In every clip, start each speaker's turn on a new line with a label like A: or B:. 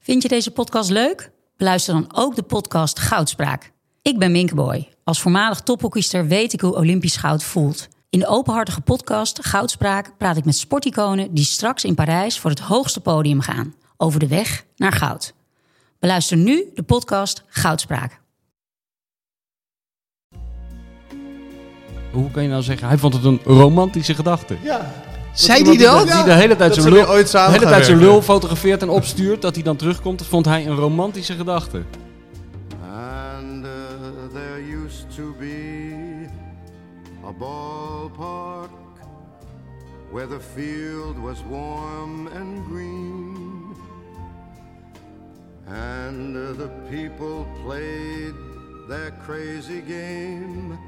A: Vind je deze podcast leuk? Beluister dan ook de podcast Goudspraak. Ik ben Minke Boy. Als voormalig tophockeyster weet ik hoe Olympisch goud voelt. In de openhartige podcast Goudspraak praat ik met sporticonen die straks in Parijs voor het hoogste podium gaan. Over de weg naar goud. Beluister nu de podcast Goudspraak.
B: Hoe kan je nou zeggen? Hij vond het een romantische gedachte.
C: Ja.
D: Zei die dat?
B: Die de hele tijd
C: dat
B: zijn
C: ze
B: lul,
C: weer ooit
B: de
C: samen
B: hele
C: gaan
B: tijd zijn
C: werken.
B: lul fotografeert en opstuurt. Dat hij dan terugkomt. Dat vond hij een romantische gedachte.
E: And uh, there used to be a ballpark where the field was warm and green. And uh, the people played their crazy game.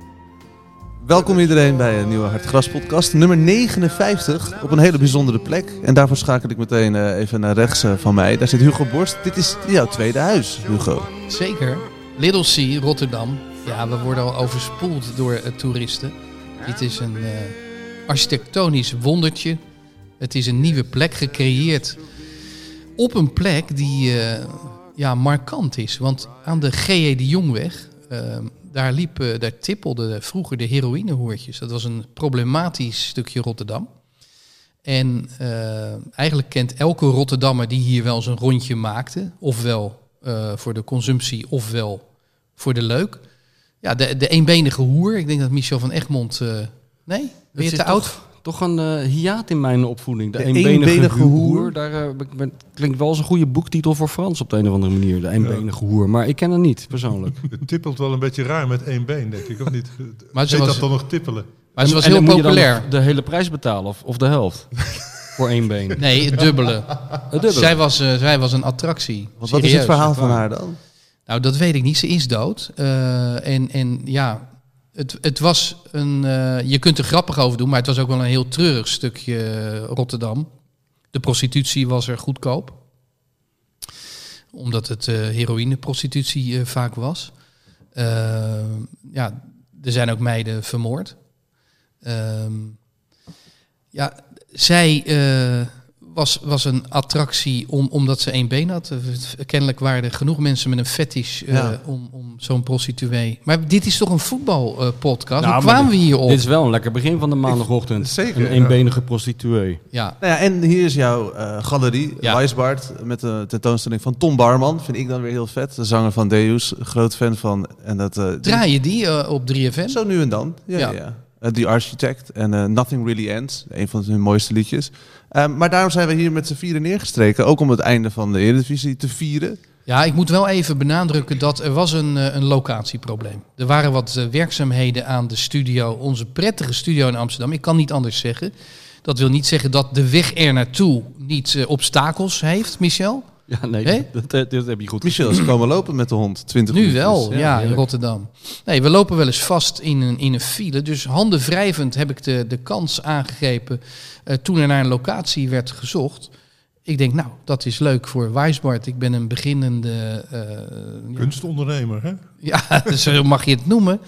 C: Welkom iedereen bij een nieuwe Hartgras podcast, nummer 59, op een hele bijzondere plek. En daarvoor schakel ik meteen eh, even naar rechts eh, van mij. Daar zit Hugo Borst. Dit is jouw tweede huis, Hugo.
D: Zeker. Little C, Rotterdam. Ja, we worden al overspoeld door eh, toeristen. Dit is een eh, architectonisch wondertje. Het is een nieuwe plek gecreëerd. Op een plek die eh, ja, markant is. Want aan de G.E. de Jongweg, eh, daar, liep, eh, daar tippelden vroeger de heroïnehoertjes. Dat was een problematisch stukje Rotterdam. En eh, eigenlijk kent elke Rotterdammer die hier wel eens een rondje maakte, ofwel eh, voor de consumptie, ofwel voor de leuk. Ja, de, de eenbenige hoer. Ik denk dat Michel van Egmond. eh, nee, ben je
B: zit
D: te oud?
B: Toch, toch een eh, hiaat in mijn opvoeding. De,
C: De
B: eenbenige,
C: eenbenige
B: hoer.
C: hoer.
B: Daar, eh, ben- ben- klinkt wel als een goede boektitel voor Frans op de een of andere manier. De eenbenige hoer. Maar ik ken het niet persoonlijk.
F: Het tippelt wel een beetje raar met één been, denk ik, of niet?
D: Maar
F: Maar
D: ze
F: Heet
D: was-
F: dat dan nog tippelen?
D: Maar ze was
B: En
D: heel
B: dan moet je dan
D: populair.
B: de hele prijs betalen of, of de helft. voor één been. Het
D: Nee, het dubbele.
B: dubbele.
D: Zij was, eh, zij was een attractie.
C: Want wat is
D: Serieus.
C: het verhaal van haar dan?
D: Nou, dat weet ik niet. Ze is dood. Eh, en, en ja, het, het was een. eh, je kunt er grappig over doen, maar het was ook wel een heel treurig stukje eh, Rotterdam. De prostitutie was er goedkoop, omdat het eh heroïneprostitutie eh, vaak was. Eh, ja, er zijn ook meiden vermoord. Ehm, ja, zij eh, was, was een attractie om, omdat ze één been had. Eh, Kennelijk waren er genoeg mensen met een fetish eh,
C: Ja.
D: om, om zo'n prostituee. Maar dit is toch een voetbalpodcast?
B: Nou,
D: Hoe
B: maar
D: kwamen we hierop?
B: Dit is wel een lekker begin van de maandagochtend.
F: Zeker,
B: Een
F: ja.
B: eenbenige prostituee.
D: Ja.
C: Nou ja, en hier is jouw eh, galerie,
D: Ja.
C: Weisbart, met de tentoonstelling van Tom Barman. Vind ik dan weer heel vet. De zanger van Deus, groot fan van. En dat, eh, die-
D: Draai je die eh, op 3FM?
C: Zo nu en dan. Ja,
D: Ja.
C: ja. ja. Eh, The Architect en eh, Nothing Really Ends. Een van hun mooiste liedjes. Eh, maar daarom zijn we hier met z'n vieren neergestreken. Ook om het einde van de Eredivisie te vieren.
D: Ja, ik moet wel even benadrukken dat er was een, eh, een locatieprobleem. Er waren wat eh, werkzaamheden aan de studio, onze prettige studio in Amsterdam. Ik kan niet anders zeggen. Dat wil niet zeggen dat de weg er naartoe niet eh, obstakels heeft, Michel.
B: Ja, nee,
D: Nee?
B: Dat, dat, dat heb je goed
C: Michel, ze komen lopen met de hond. 20
D: Nu
C: minuutjes.
D: wel, ja, in
B: heerlijk.
D: Rotterdam. Nee, we lopen wel eens vast in een, in een file. Dus handenwrijvend heb ik de, de kans aangegrepen eh, toen er naar een locatie werd gezocht. Ik denk, nou, dat is leuk voor Wijsbart. Ik ben een beginnende eh, ja,
F: Kunstondernemer, hè?
D: Ja, dus zo mag je het noemen.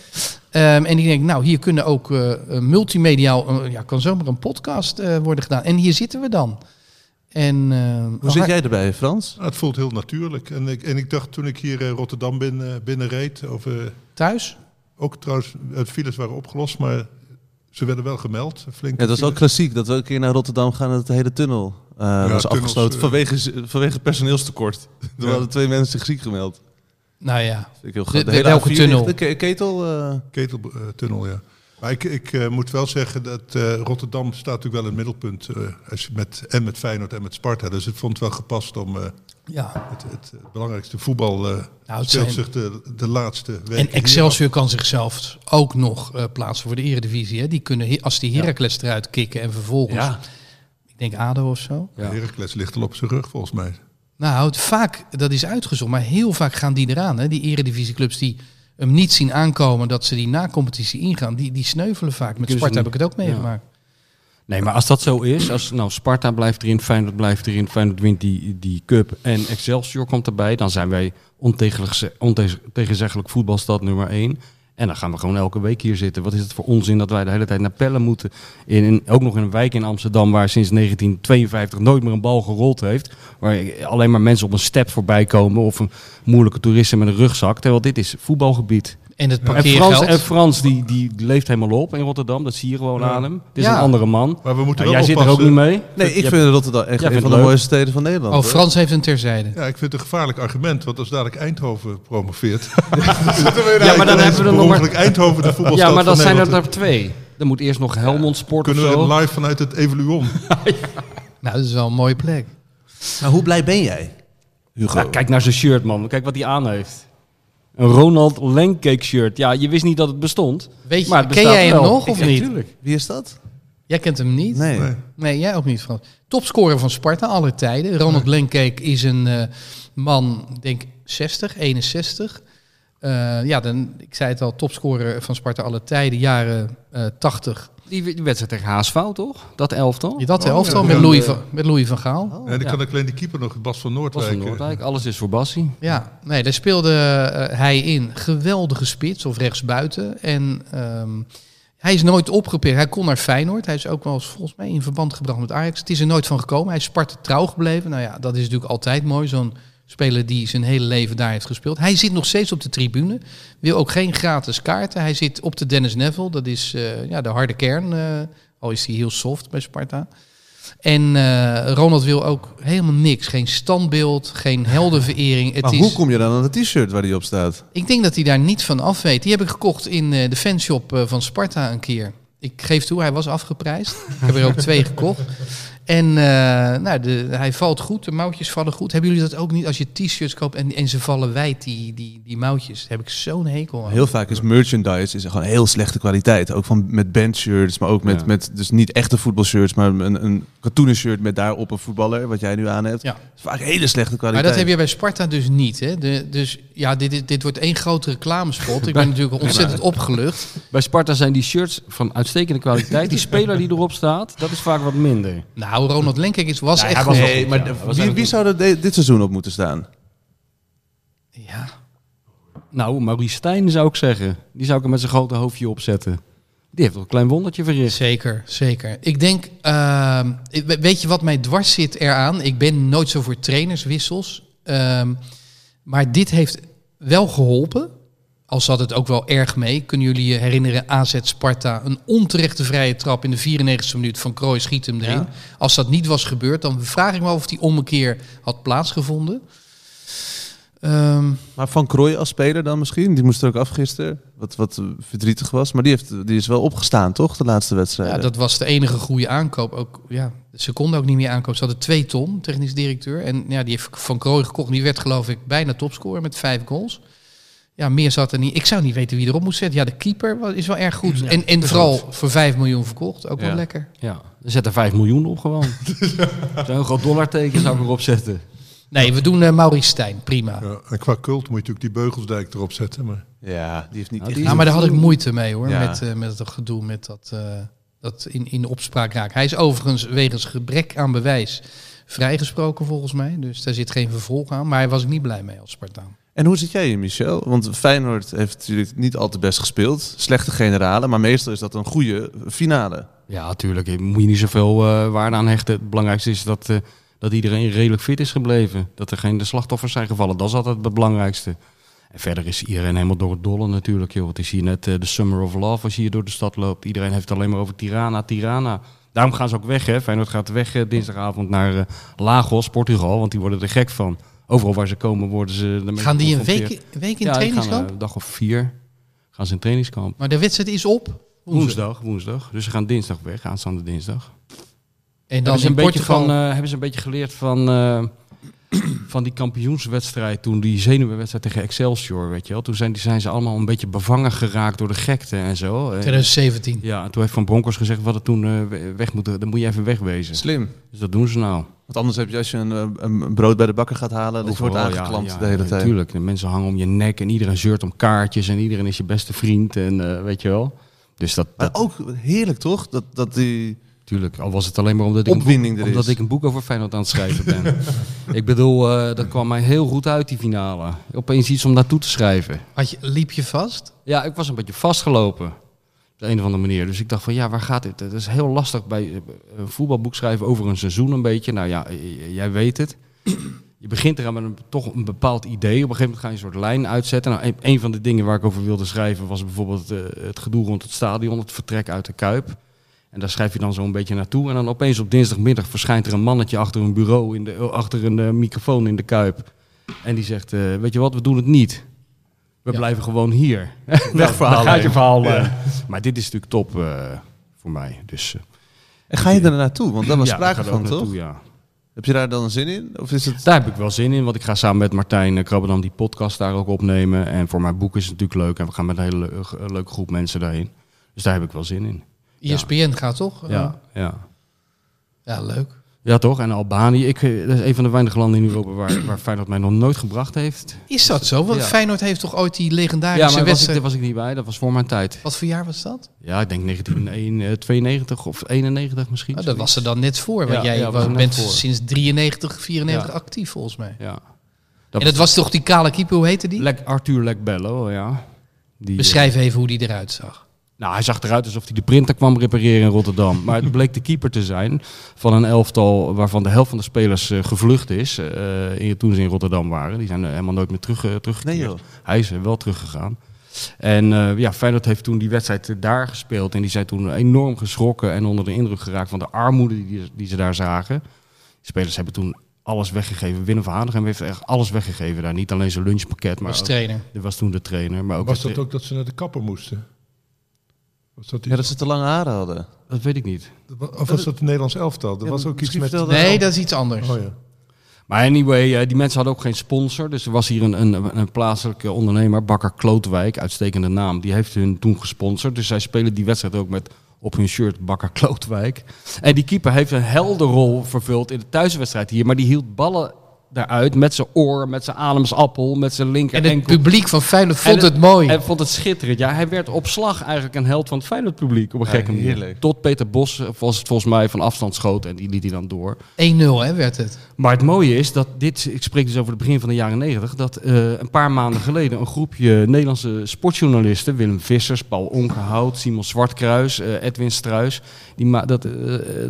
D: Ehm, en ik denk, nou, hier kunnen ook eh, eh, multimediaal, eh, ja, kan zomaar een podcast eh, worden gedaan. En hier zitten we dan. En, ehm,
C: Hoe
D: oh,
C: zit jij erbij, Frans?
F: Nou, het voelt heel natuurlijk. En ik, en ik dacht toen ik hier eh, Rotterdam binnen, binnenreed, of, eh,
D: thuis?
F: ook trouwens, het files waren opgelost, maar ze werden wel gemeld. Flink.
C: Ja, dat is wel klassiek dat we een keer naar Rotterdam gaan en dat de hele tunnel eh, was
F: tunnels,
C: afgesloten.
F: eh.
C: vanwege, z- vanwege personeelstekort. Er
F: Ja.
C: waren twee mensen zich ziek gemeld.
D: Nou ja.
C: Vind ik heel
D: De-
C: grappig.
D: de- welke
C: A4 ligt-
D: tunnel?
C: De ke- ketel. eh,
F: Keteltunnel, ja. Maar ik, ik eh, moet wel zeggen dat eh, Rotterdam staat natuurlijk wel in het middelpunt. eh, als je met, en met Feyenoord en met Sparta. Dus ik vond het wel gepast om eh,
D: ja.
F: het, het belangrijkste voetbal eh
D: Nou, het zijn-
F: speelt zich de, de laatste
D: En
F: weken hier af.
D: Excelsior kan zichzelf ook nog eh, plaatsen voor de eredivisie. Hè. Die kunnen, he- als die Heracles eruit kicken en vervolgens,
B: Ja.
D: ik denk ADO of zo.
B: Ja.
F: Heracles ligt al op zijn rug, volgens mij.
D: Nou, het vaak, dat is uitgezocht, maar heel vaak gaan die eraan. Hè? Die eredivisieclubs die hem niet zien aankomen dat ze die na-competitie ingaan, die, die sneuvelen vaak. Met
B: Kunnen ze
D: Sparta heb ik
B: niet.
D: het ook
B: Ja.
D: meegemaakt.
B: Nee, maar als dat zo is, als nou Sparta blijft erin, Feyenoord blijft erin, Feyenoord wint die, die cup en Excelsior komt erbij, dan zijn wij ontegenzeggelijk voetbalstad nummer 1. En dan gaan we gewoon elke week hier zitten. Wat is het voor onzin dat wij de hele tijd naar Pellen moeten. In, in- ook nog in een wijk in Amsterdam waar sinds 1952 nooit meer een bal gerold heeft. Waar alleen maar mensen op een step voorbij komen. Of een moeilijke toeristen met een rugzak. Terwijl dit is voetbalgebied.
D: En het
B: En Frans,
D: parkeergeld.
B: en Frans die, die leeft helemaal op in Rotterdam. Dat zie je gewoon
F: Ja.
B: aan hem. Het is
D: Ja.
B: een andere man.
F: Maar we moeten
B: Ja, jij
F: wel
B: zit er ook
F: oppassen.
B: niet mee.
C: Nee,
B: Dat-
C: ik
B: je-
C: vind Rotterdam echt
B: Jij
C: een
B: vindt
C: van de
B: het leuk.
C: mooiste steden van Nederland.
D: Oh,
C: hoor.
D: Frans heeft een terzijde.
F: Ja, ik vind het een gevaarlijk argument, want als dadelijk Eindhoven promoveert... dan zitten we
B: dan
F: ineens
B: hebben we er nog maar-
F: per ongeluk Eindhoven de voetbalstad
B: Ja, maar dan
F: van
B: zijn er
F: Nederland.
B: daar twee. Dan moet eerst nog Helmond Sport of
F: Kunnen
B: zo.
F: we live vanuit het Evoluon?
B: Oh,
D: Nou, dat is wel een mooie plek.
C: Maar Nou, hoe blij ben jij, Hugo?
B: Nou, kijk naar zijn shirt, man. Kijk wat hij aan heeft. Een Ronald Langcake shirt. Ja, je wist niet dat het bestond.
D: Weet je,
B: maar het
D: ken
B: bestaat
D: jij hem
B: wel.
D: nog of
B: Ja,
D: niet?
B: tuurlijk.
C: Wie is dat?
D: Jij kent hem niet?
C: Nee.
F: Nee.
D: Nee, jij ook niet, Frans. Topscorer van Sparta, alle tijden. Ronald Lenkeek is een eh, man, denk 60, 61. Eh, ja, dan, ik zei het al, topscorer van Sparta alle tijden, jaren eh 80.
B: Die, die wedstrijd tegen Haasfout, toch? Dat elftal?
D: Je dat
F: Oh,
D: elftal
F: ja.
D: met,
F: Ja,
D: Louis
F: eh,
D: van, met Louis van Gaal.
F: En dan kan ik alleen de keeper nog, Bas van
B: Bas
F: Noordwijk.
B: van
F: eh,
B: Noordwijk. Alles is voor Bassie.
D: Ja, nee, daar speelde eh, hij in. Geweldige spits of rechtsbuiten. En ehm, hij is nooit opgepikt. Hij kon naar Feyenoord. Hij is ook wel eens volgens mij in verband gebracht met Ajax. Het is er nooit van gekomen. Hij is Sparta trouw gebleven. Nou ja, dat is natuurlijk altijd mooi. Zo'n speler die zijn hele leven daar heeft gespeeld. Hij zit nog steeds op de tribune. Wil ook geen gratis kaarten. Hij zit op de Dennis Neville. Dat is eh, ja, de harde kern. eh, al is hij heel soft bij Sparta. En eh, Ronald wil ook helemaal niks. Geen standbeeld, geen heldenverering. Het
C: Maar
D: is...
C: hoe kom je dan aan het t-shirt waar die op staat?
D: Ik denk dat hij daar niet van af weet. Die heb ik gekocht in eh, de fanshop eh, van Sparta een keer. Ik geef toe, hij was afgeprijsd. Ik heb er ook twee gekocht. En eh, nou, de, hij valt goed, de mouwtjes vallen goed. Hebben jullie dat ook niet als je t-shirts koopt en, en ze vallen wijd, die, die, die mouwtjes? Daar heb ik zo'n hekel aan.
C: Heel vaak is merchandise is gewoon heel slechte kwaliteit. Ook van, met bandshirts, maar ook met,
B: Ja.
C: met dus niet echte voetbalshirts, maar een, een katoenen shirt met daarop een voetballer, wat jij nu aan hebt.
D: Ja.
C: Dat is vaak hele slechte
D: Maar
C: kwaliteit.
D: dat heb je bij Sparta dus niet. Hè? De, dus ja, dit, is- dit wordt één grote reclamespot. Ik ben natuurlijk ontzettend opgelucht.
B: Bij Sparta zijn die shirts van uitstekende kwaliteit. Die speler die erop staat, dat is vaak wat minder.
D: Nou, Ronald Lenkek is, was
B: Ja,
D: echt
B: hij was
D: goed.
B: wel
C: Nee,
B: goed,
C: maar
B: ja.
C: de-
B: We zijn
C: wie, wie
B: goed.
C: zou er de- dit seizoen op moeten staan?
D: Ja.
B: Nou, Maurice Stijn zou ik zeggen. Die zou ik er met zijn grote hoofdje opzetten. Die heeft toch een klein wondertje verricht.
D: Zeker, zeker. Ik denk, ehm, ik- we- weet je wat mij dwars zit eraan? Ik ben nooit zo voor trainerswissels. Ehm, maar dit heeft wel geholpen. Al zat het ook wel erg mee. Kunnen jullie je herinneren, AZ Sparta, een onterechte vrije trap in de 94e minuut van Krooi schiet hem erin. Als dat niet was gebeurd, dan vraag ik me af of die ommekeer had plaatsgevonden. Ehm,
C: Maar Van Krooij als speler dan misschien? Die moest er ook af gisteren, wat, wat eh, verdrietig was. Maar die, heeft, die is wel opgestaan, toch? De laatste wedstrijd.
D: Ja, dat was de enige goede aankoop. Ook, ja, ze konden ook niet meer aankopen. Ze hadden twee ton, technisch directeur. En ja, die heeft Van Krooi gekocht. Die werd geloof ik bijna topscorer met vijf goals. Ja, meer zat er niet. Ik zou niet weten wie erop moet zetten. Ja, de keeper wa- is wel erg goed. en en vooral voor vijf miljoen verkocht. Ook
C: Ja.
D: wel lekker.
B: Ja, zet er 5 miljoen op gewoon. Zo'n groot dollarteken zou ik erop zetten.
D: Nee, we doen eh Maurice Stijn. Prima.
F: ja, en qua cult moet je natuurlijk die Beugelsdijk erop zetten. Maar
C: Ja, die heeft niet
B: Nou,
C: echt-
B: die-
D: Nou, maar daar had ik moeite mee hoor.
C: Ja.
D: Met, eh, met het gedoe met dat, eh, dat in, in de opspraak raken. Hij is overigens wegens gebrek aan bewijs vrijgesproken volgens mij. Dus daar zit geen vervolg aan. Maar hij was ik niet blij mee als Spartaan.
C: En hoe zit jij hier, Michel? Want Feyenoord heeft natuurlijk niet al te best gespeeld. Slechte generalen, maar meestal is dat een goede finale.
B: Ja, natuurlijk. Moet je niet zoveel eh, waarde aan hechten. Het belangrijkste is dat, eh, dat iedereen redelijk fit is gebleven. Dat er geen de slachtoffers zijn gevallen. Dat is altijd het belangrijkste. En verder is iedereen helemaal door het dolle natuurlijk. Joh. Het is hier net eh, de Summer of Love als je hier door de stad loopt. Iedereen heeft het alleen maar over Tirana, Tirana. Daarom gaan ze ook weg. Hè. Feyenoord gaat weg eh, dinsdagavond naar eh, Lagos, Portugal. Want die worden er gek van. Overal waar ze komen worden ze... ermee
D: Gaan die een week,
B: geconfronteerd.
D: een
B: Ja,
D: week in
B: die gaan,
D: trainingskamp?
B: eh, een dag of vier gaan ze in trainingskamp.
D: Maar de wedstrijd is op.
B: Woensdag, woensdag. Dus ze gaan dinsdag weg, aanstaande dinsdag.
D: En dan
B: Hebben ze,
D: in
B: een beetje
D: Portugal.
B: van, eh, hebben ze een beetje geleerd van, eh, van die kampioenswedstrijd toen, die zenuwenwedstrijd tegen Excelsior, weet je wel. Toen zijn, die zijn ze allemaal een beetje bevangen geraakt door de gekte en zo. En-
D: 2017.
B: ja, en toen heeft Van Bronckhorst gezegd, wat het toen eh, we- weg moet, dan moet je even wegwezen.
C: Slim.
B: Dus dat doen ze nou.
C: Want anders heb je als je een, eh, een brood bij de bakker gaat halen, dat je wordt
B: Overal, ja,
C: aangeklampt
B: ja,
C: de hele tijd.
B: Tuurlijk, de mensen hangen om je nek en iedereen zeurt om kaartjes en iedereen is je beste vriend en eh, weet je wel. Dus dat,
C: Maar
B: dat
C: ook heerlijk toch? Dat, dat die
B: Tuurlijk, al was het alleen maar omdat ik, een
C: Opwinding
B: boek,
C: er
B: omdat
C: is.
B: ik een boek over Feyenoord aan het schrijven ben. ik bedoel, eh, dat kwam mij heel goed uit, die finale. Opeens iets om naartoe te schrijven.
D: Had je, liep je vast?
B: Ja, ik was een beetje vastgelopen. Op de een of andere manier. Dus ik dacht van ja, waar gaat dit? Het is heel lastig bij eh, een voetbalboek schrijven over een seizoen een beetje. Nou ja, eh, eh, jij weet het. Je begint eraan met een, toch een bepaald idee. Op een gegeven moment ga je een soort lijn uitzetten. Nou, een, een van de dingen waar ik over wilde schrijven was bijvoorbeeld eh, het gedoe rond het stadion, het vertrek uit de Kuip. En daar schrijf je dan zo'n beetje naartoe. En dan opeens op dinsdagmiddag verschijnt er een mannetje achter een bureau, in de, eh, achter een eh, microfoon in de Kuip. En die zegt, eh, weet je wat, we doen het niet. We
D: Ja.
B: blijven gewoon hier.
C: Wegverhaal
B: Dan gaat je
C: heen.
B: verhaal. eh, Maar dit is natuurlijk top eh, voor mij. Dus, eh,
C: En ga je er naartoe? Want daar was
B: ja,
C: sprake
B: daar ga ik
C: van,
B: ook
C: toch?
B: naartoe, Ja.
C: Heb je daar dan zin in? Of is het...
B: Daar heb ik wel zin in, want ik ga samen met Martijn eh, Krabbedam die podcast daar ook opnemen. En voor mijn boek is het natuurlijk leuk en we gaan met een hele leu- eh, leuke groep mensen daarheen. Dus daar heb ik wel zin in. Ja.
D: ESPN gaat toch?
B: Ja, ja.
D: Ja, leuk.
B: ja toch? En Albanië, ik, eh, dat is een van de weinige landen in Europa waar, waar Feyenoord mij nog nooit gebracht heeft.
D: Is dat zo? Want
B: Ja.
D: Feyenoord heeft toch ooit die
B: Ja,
D: legendarische
B: maar was ik,
D: wedstrijd...
B: daar was ik niet bij, dat was voor mijn tijd.
D: Wat voor jaar was dat?
B: Ja, ik denk 1992 of 91 misschien.
D: Nou, dat was er dan net voor. Want
B: Ja,
D: jij
B: ja, was
D: wa-
B: er net
D: bent
B: voor.
D: sinds 93, 94
B: Ja.
D: actief volgens mij.
B: Ja.
D: en dat was toch die kale keeper, hoe heette die?
B: Lek, Arthur Lekbello, ja. Die,
D: Beschrijf even hoe die eruit zag.
B: Nou, hij zag eruit alsof hij de printer kwam repareren in Rotterdam. Maar het bleek de keeper te zijn van een elftal waarvan de helft van de spelers eh, gevlucht is. eh, in, toen ze in Rotterdam waren. Die zijn er helemaal nooit meer terug, eh, teruggekeerd.
C: Nee, joh.
B: Hij is er wel teruggegaan. En eh ja, Feyenoord heeft toen die wedstrijd eh, daar gespeeld. En die zijn toen enorm geschrokken en onder de indruk geraakt van de armoede die, die ze daar zagen. Die spelers hebben toen alles weggegeven. Willem van Hanegem heeft echt alles weggegeven daar. Niet alleen zijn lunchpakket, maar
D: Als
B: ook-
D: trainer.
B: dit was toen de trainer. Maar ook
F: Was
B: het-
F: dat ook dat ze naar de kapper moesten? Was dat
C: Ja,
F: iets,
C: dat ze te lange haren hadden.
B: dat weet ik niet.
F: of was dat het Nederlands elftal? Er
C: Ja,
F: was ook iets
C: misschien
F: met...
C: vertelde-
D: Nee, dat is iets anders.
F: Oh ja.
B: Maar anyway, eh, die mensen hadden ook geen sponsor. Dus er was hier een, een, een plaatselijke ondernemer, Bakker Klootwijk, uitstekende naam. Die heeft hun toen gesponsord. Dus zij spelen die wedstrijd ook met op hun shirt Bakker Klootwijk. En die keeper heeft een helder rol vervuld in de thuiswedstrijd hier. Maar die hield ballen daaruit met zijn oor, met zijn ademsappel, met zijn linker
D: En het
B: enkel.
D: publiek van Feyenoord vond
B: En
D: het, mooi.
B: Hij vond het schitterend. Ja, hij werd op slag eigenlijk een held van het Feyenoord publiek op een
C: Ja,
B: gekke
C: heerlijk.
B: manier. Tot Peter Bos eh, was het volgens mij van afstand schoot en die liet hij dan door.
D: 1-0 hè, werd het.
B: Maar het mooie is dat dit, ik spreek dus over het begin van de jaren 90, dat eh, een paar maanden geleden een groepje Nederlandse sportjournalisten, Willem Vissers, Paul Onkenhout, Simon Zwartkruis, eh, Edwin Struis, die ma- dat, eh,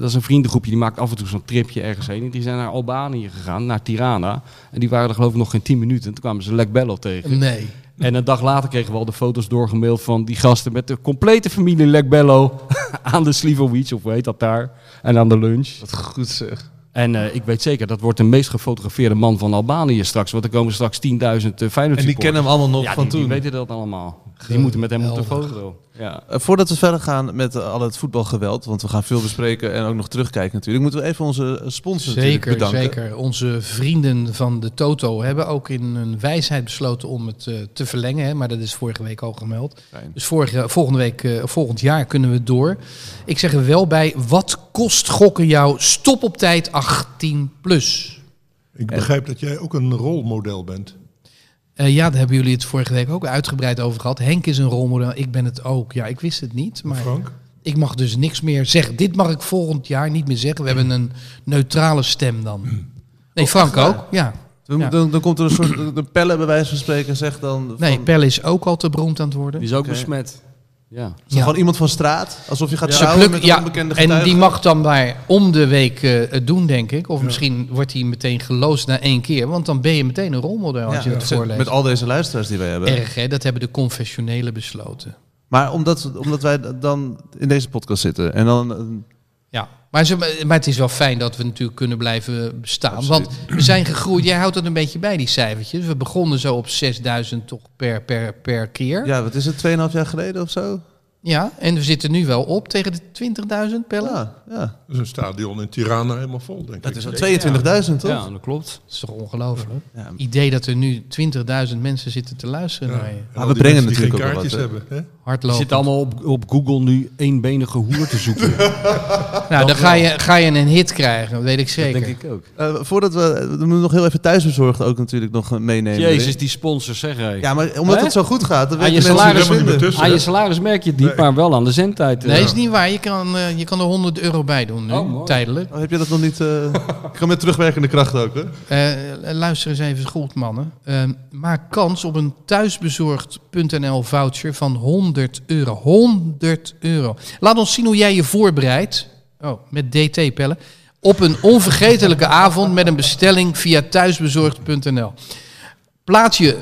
B: dat is een vriendengroepje, die maakt af en toe zo'n tripje ergens heen. En die zijn naar Albanië gegaan, naar Tirana. En die waren er geloof ik nog geen 10 minuten en toen kwamen ze Lek Bello tegen.
D: Nee.
B: En een dag later kregen we al de foto's doorgemaild van die gasten met de complete familie Lek Bello aan de Slivovic, of hoe heet dat daar, en aan de lunch.
C: Wat goed zeg.
B: En eh, ik weet zeker, dat wordt de meest gefotografeerde man van Albanië straks. Want er komen straks 10.000 uh, Feyenoord
C: En die kennen hem allemaal nog
B: ja,
C: van
B: die,
C: toen.
B: die weten dat allemaal. Die moeten met hem op de
D: Geweldig.
B: foto. Ja.
C: Eh, voordat we verder gaan met eh, al het voetbalgeweld, want we gaan veel bespreken en ook nog terugkijken natuurlijk, moeten we even onze eh, sponsors natuurlijk
D: Zeker,
C: bedanken.
D: zeker. Onze vrienden van de Toto hebben ook in hun wijsheid besloten om het eh, te verlengen. Hè, maar dat is vorige week al gemeld.
C: Fijn.
D: Dus vorige, volgende week, eh, volgend jaar kunnen we door. Ik zeg er wel bij, wat kost gokken jou stop op tijd 18 plus?
F: Ik begrijp dat jij ook een rolmodel bent.
D: Eh, ja, daar hebben jullie het vorige week ook uitgebreid over gehad. Henk is een rolmodel, ik ben het ook. Ja, ik wist het niet, maar
F: Frank?
D: ik mag dus niks meer zeggen. Dit mag ik volgend jaar niet meer zeggen. We hebben een neutrale stem
C: Mm.
D: dan. Nee, Frank ook. Ja.
C: Dan,
D: Ja.
C: dan, dan komt er een soort eh, de pellen bij wijze van spreken en zegt dan... Van,
D: Nee, Pelle is ook al te beroemd aan het worden.
B: Die is ook
C: Oké.
B: besmet. Ja.
C: is dat
D: Ja.
C: gewoon iemand van straat, alsof je gaat
D: Ze
C: trouwen
D: pluk-
C: met een
D: ja,
C: onbekende
D: en
C: getuige.
D: die mag dan daar om de week eh, het doen, denk ik. Of misschien wordt hij meteen geloosd na één keer. Want dan ben je meteen een rolmodel als
C: Ja,
D: je het voorleest.
C: met al deze luisteraars die wij hebben.
D: Erg, hè? Dat hebben de confessionelen besloten.
C: Maar omdat, omdat wij dan in deze podcast zitten en dan... eh,
D: Ja, maar, ze, maar het is wel fijn dat we natuurlijk kunnen blijven bestaan. Want we zijn gegroeid. Jij houdt het een beetje bij, die cijfertjes. We begonnen zo op 6000 toch per, per, per keer. Ja.
C: ja, wat is het, 2,5 jaar geleden of zo?
D: en we zitten nu wel op tegen de 20.000 pellen.
C: Ja, ja.
F: Dat is Dus een stadion in Tirana helemaal vol, denk
C: Dat
F: ik.
C: is al 22.000 toch?
B: ja, dat klopt.
D: Dat is toch ongelooflijk?
C: Ja.
D: Idee dat er nu 20.000 mensen zitten te luisteren naar je.
F: En
C: we
F: al die
C: brengen
F: mensen die
C: natuurlijk
F: geen
C: ook wel
F: kaartjes
C: wat,
F: hebben. Hè?
B: Je
D: hardlopen.
B: zit allemaal op, op Google nu eenbenige hoer te zoeken.
D: nou, dan ga je, ga je een hit krijgen, weet ik
B: dat
D: zeker.
B: denk ik ook.
C: Eh, voordat we, we moeten nog heel even thuisbezorgd ook natuurlijk nog eh, meenemen.
B: Jezus, die sponsors, zeg hé.
C: Ja, maar omdat
B: Hè?
C: het zo goed gaat, dan
B: Aan
C: weten
B: je
C: mensen
B: salaris-
C: het
F: Helemaal niet meer
C: vinden.
F: tussen.
B: Aan je salaris merk je het niet,
F: Nee.
B: maar wel aan de zendtijd. eh.
D: Nee, is niet waar. Je kan, eh, je kan er 100 euro bij doen nu,
B: Oh, mooi.
D: tijdelijk.
C: Oh, heb je dat nog niet? eh, Ik kan met terugwerkende kracht ook, hè?
D: Eh, luister eens even goed, mannen. Eh, maak kans op een thuisbezorgd.nl voucher van 100 euro. 100 euro. Laat ons zien hoe jij je voorbereidt. Oh, met DT-pellen. Op een onvergetelijke avond met een bestelling via thuisbezorgd.nl. Plaats je.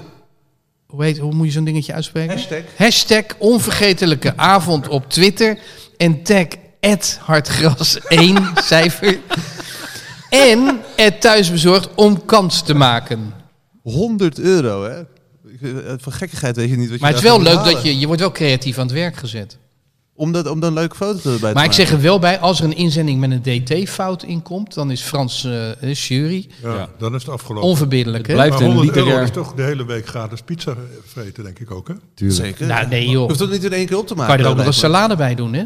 D: Hoe, heet, hoe moet je zo'n dingetje uitspreken?
C: Hashtag.
D: Hashtag onvergetelijke avond op Twitter. En tag hartgras 1 cijfer. En het thuisbezorgd om kans te maken.
C: 100 euro, hè? Ik, eh, Van gekkigheid weet je niet wat je
D: Maar het is
C: daarvoor
D: wel
C: moet
D: leuk dat
C: halen.
D: je... Je wordt wel creatief aan het werk gezet.
C: Om, dat, om dan een leuke foto erbij te maken.
D: Maar ik zeg er wel bij, als er een inzending met een DT-fout in komt... dan is Frans eh, eh, jury
F: Ja,
B: Ja.
F: Dan is het afgelopen.
D: onverbiddelijk, hè?
B: Het blijft
F: maar
B: een
F: 100 euro
B: literair-
F: is toch de hele week gratis pizza vreten, denk ik ook, hè?
B: Tuurlijk.
C: Zeker.
D: Nou, nee
C: Je
D: joh.
C: hoeft het niet in één keer op te maken.
D: Kan je er ook nog een
C: lijkt me.
D: salade bij doen, hè?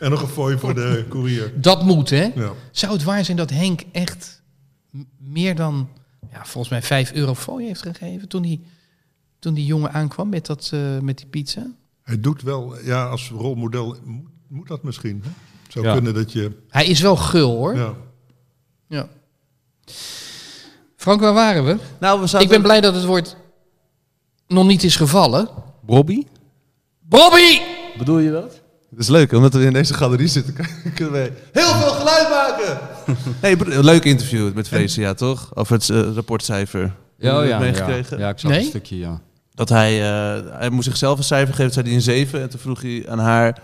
F: En nog een fooi voor de koerier.
D: Dat moet, hè?
F: Ja.
D: Zou het waar zijn dat Henk echt m- meer dan... Ja, volgens mij 5 euro fooi heeft gegeven toen die, toen die jongen aankwam met, dat, eh, met die pizza?
F: Hij doet wel, ja, als rolmodel moet, moet dat misschien. Hè? Het Zou
B: Ja.
F: kunnen dat je...
D: Hij is wel gul, hoor.
F: Ja.
D: Ja. Frank, waar waren we?
C: Nou, we
D: Ik ben blij dat het woord nog niet is gevallen.
B: Robbie?
D: Bobby!
B: Bedoel je dat?
C: Het is leuk, omdat we in deze galerie zitten, kunnen we heel veel geluid maken. hey, br- leuk interview met Freesia, ja, toch? Over het eh, rapportcijfer. Hebben
B: Ja,
C: we
B: ja,
C: het
B: ja.
C: meegekregen?
B: ja, ik zag
D: Nee?
B: een stukje, ja.
C: Dat hij, eh, hij moest zichzelf een cijfer geven, zei hij een 7. En toen vroeg hij aan haar,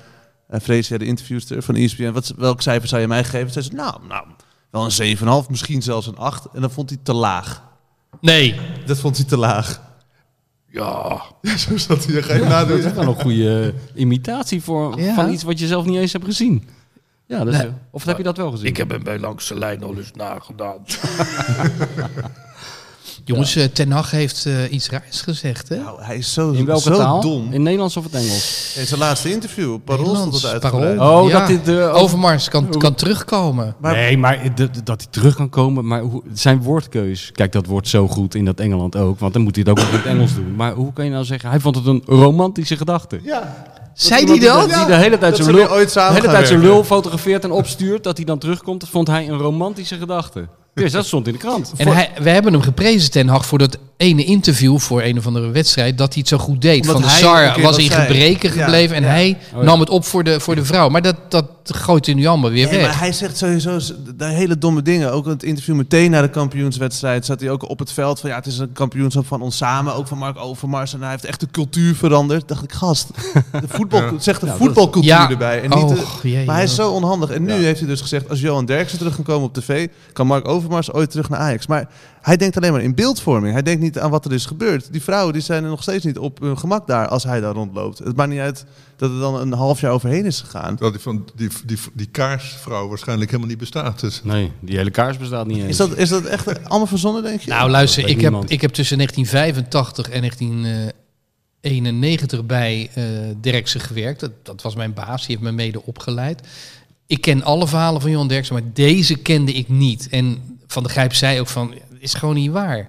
C: uh, Freesia, de interviewster van E ESPN, wat, welk cijfer zou je mij geven? Zei ze, nou, nou, wel een 7,5, misschien zelfs een 8. En dan vond hij het te laag.
D: Nee.
C: Dat vond hij te laag.
F: Ja. zo zat hij. Ga je
B: Dat
F: nadoen.
B: is wel een goede eh, imitatie voor,
D: Ja.
B: van iets wat je zelf niet eens hebt gezien. Ja, dat is, of heb je dat wel gezien?
G: Ik heb hem bij langs de lijn al eens nagedaan.
D: Jongens, eh, Ten Hag heeft eh, iets raars gezegd, hè?
C: Nou, hij is zo,
B: In welke
C: zo
B: taal?
C: dom.
B: In Nederlands of het Engels?
C: In zijn laatste interview, op Parool stond het
D: Nederlands,
C: uitgebreid.
D: Parool.
B: Oh,
D: Ja.
B: dat dit... eh, over-
D: Overmars kan, kan terugkomen.
C: Maar-
B: nee, maar dat, dat hij terug kan komen. Maar hoe, zijn woordkeus. Kijk, dat wordt zo goed in dat Engeland ook. Want dan moet hij het ook nog in het Engels doen. Maar hoe kan je nou zeggen... Hij vond het een romantische gedachte.
C: Ja,
D: Zei die
B: Dat
D: dat?
B: hij de hele tijd
C: dat
B: zijn
C: ze weer
B: lul,
C: ooit
B: de
C: samen
B: hele
C: gaan
B: tijd zijn
C: werken.
B: lul fotografeert en opstuurt. Dat hij dan terugkomt. Dat vond hij een romantische gedachte. Dus dat stond in de krant.
D: En hij, we hebben hem geprezen, Ten Hag, voor dat ene interview voor een of andere wedstrijd. Dat hij het zo goed deed.
C: Omdat
D: Van de
C: hij een
D: Sar
C: keer
D: was
C: dat
D: in
C: zei.
D: gebreken
C: Ja,
D: gebleven en
C: ja.
D: hij
B: ja.
D: nam het op voor de, voor de vrouw. Maar dat, dat gooit hij nu allemaal weer
C: Nee,
D: weg.
C: maar hij zegt sowieso z- de hele domme dingen. Ook in het interview meteen na de kampioenswedstrijd zat hij ook op het veld van ja, het is een kampioenschap van ons samen, ook van Mark Overmars. En hij heeft echt de cultuur veranderd. Dacht ik, gast, de voetbal, zegt de voetbalcultuur
D: Ja.
C: erbij. En niet de-
D: Och, jee,
C: maar hij is
D: joh.
C: zo onhandig. En nu heeft hij dus gezegd, als Johan Derksen terug kan komen op tv, kan Mark Overmars ooit terug naar Ajax. Maar hij denkt alleen maar in beeldvorming. Hij denkt niet aan wat er is gebeurd. Die vrouwen die zijn er nog steeds niet op hun gemak daar als hij daar rondloopt. Het maakt niet uit dat er dan een half jaar overheen is gegaan.
F: Dat die, van, die, die, die kaarsvrouw waarschijnlijk helemaal niet bestaat. Dus
B: Nee, die hele kaars bestaat niet eens.
C: Is dat, is dat echt allemaal verzonnen, denk je?
D: Nou, luister,
B: dat weet
D: ik heb,
B: niemand.
D: ik heb tussen 1985 en 1991 bij eh Derksen gewerkt. Dat, dat was mijn baas, die heeft me mede opgeleid. Ik ken alle verhalen van Johan Derksen, maar deze kende ik niet. En Van de Grijp zei ook van, is gewoon niet waar.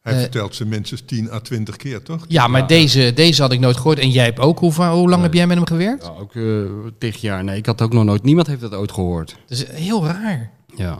F: hij
D: Eh.
F: vertelt ze minstens 10 à 20 keer, toch?
D: Ja, maar Deze, deze had ik nooit gehoord. En jij hebt ook, hoe, va- hoe lang heb jij met hem gewerkt?
B: Ja, ook eh tig jaar. Nee, ik had het ook nog nooit. Niemand heeft dat ooit gehoord.
D: Dat is heel raar.
B: Ja.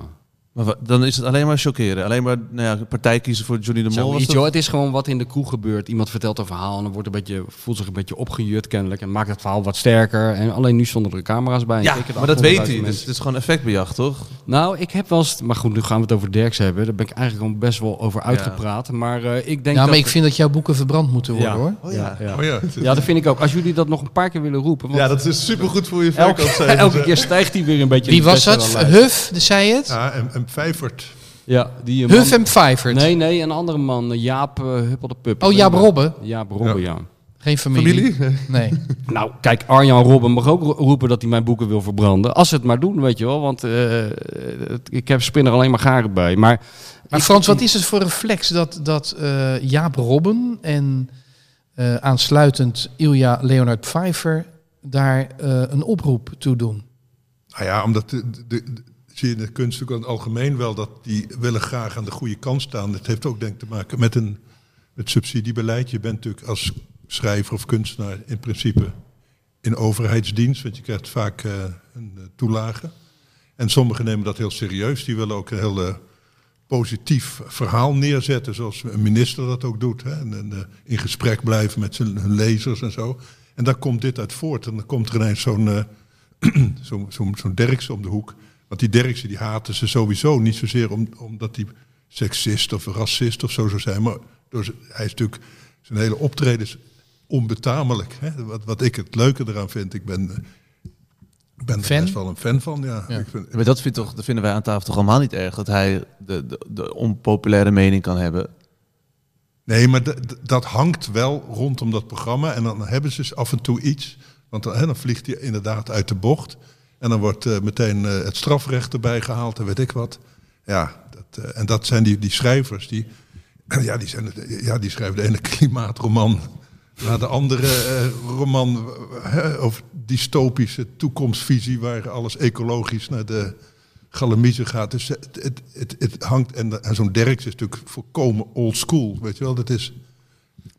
C: Maar wa- dan is het alleen maar chockeren. Alleen maar nou ja, partij kiezen voor Johnny de Mol. was
B: Zoiets,
C: dat?
B: joh. Het is gewoon wat in de kroeg gebeurt. Iemand vertelt een verhaal en dan wordt een beetje, voelt zich een beetje opgejut kennelijk. En maakt het verhaal wat sterker. En alleen nu stonden er camera's bij.
C: Ja,
B: Zeker de
C: maar dat weet hij.
B: 800.000
C: Dus
B: mensen.
C: het is gewoon effectbejacht, toch?
B: Nou, ik heb wel eens... Maar goed, nu gaan we het over Derks hebben. Daar ben ik eigenlijk al best wel over uitgepraat. Maar eh, ik denk
D: nou, maar
B: dat...
D: ik vind dat jouw boeken verbrand moeten worden,
B: Ja.
D: hoor.
C: Oh
B: ja, ja.
F: Oh ja,
B: Ja, dat vind ik ook. Als jullie dat nog een paar keer willen roepen. Want
C: dat is supergoed voor je
B: elke, elke keer stijgt hij weer een beetje.
D: Wie
B: in de
D: was dat?
B: bestsellerlijst.
D: Huff, dat zei het?
F: Ja, en, en Vijvert.
B: Ja, die eh, man-
D: Huff en Pfeifert.
B: Nee, nee, een andere man. eh, Jaap eh, Huppel de Pup.
D: Oh, Jaap Robben?
B: Jaap Robben, ja.
D: Geen familie. Nee.
B: Nou, kijk, Arjan Robben mag ook ro- roepen dat hij mijn boeken wil verbranden. Als ze het maar doen, weet je wel. Want eh, het- ik heb Spinner alleen maar garen bij. Maar
D: Maar Frans, wat is het voor reflex dat, dat eh, Jaap Robben en eh, aansluitend Ilja Leonard Pfeiffer daar eh, een oproep toe doen.
F: Nou ja, omdat de, de, de- zie je in de kunst ook in het algemeen wel dat die willen graag aan de goede kant staan. Dat heeft ook denk ik te maken met een met subsidiebeleid. Je bent natuurlijk als schrijver of kunstenaar in principe in overheidsdienst, want je krijgt vaak eh, een eh, toelage. En sommigen nemen dat heel serieus. Die willen ook een heel eh, positief verhaal neerzetten, zoals een minister dat ook doet. Hè? En, en, eh, in gesprek blijven met zijn, hun lezers en zo. En daar komt dit uit voort. En dan komt er ineens zo'n eh, zo'n zo, zo'n Derksen om de hoek. Want die Derksen die haten ze sowieso niet zozeer om, omdat hij seksist of racist of zo zou zijn. Maar door, z- hij is natuurlijk, zijn hele optreden is onbetamelijk. Hè? Wat, wat ik het leuke eraan vind. Ik ben, eh, ik ben er
D: Fan?
F: best wel een fan van. Ja.
D: Ja.
F: Ik vind,
C: Maar dat, vindt toch, dat vinden wij aan tafel toch allemaal niet erg? Dat hij de, de, de onpopulaire mening kan hebben.
F: Nee, maar d- d- dat hangt wel rondom dat programma. En dan hebben ze dus af en toe iets. Want dan, hè, dan vliegt hij inderdaad uit de bocht. En dan wordt eh, meteen eh, het strafrecht erbij gehaald en weet ik wat. Ja, dat, eh, en dat zijn die, die schrijvers. Die, ja, die zijn, het- ja, die schrijven de ene klimaatroman naar de andere eh, roman. eh, hè, over dystopische toekomstvisie waar alles ecologisch naar de galamiezen gaat. Dus het, het, het, het hangt. En, en zo'n Derks is natuurlijk volkomen old school. Weet je wel, dat is.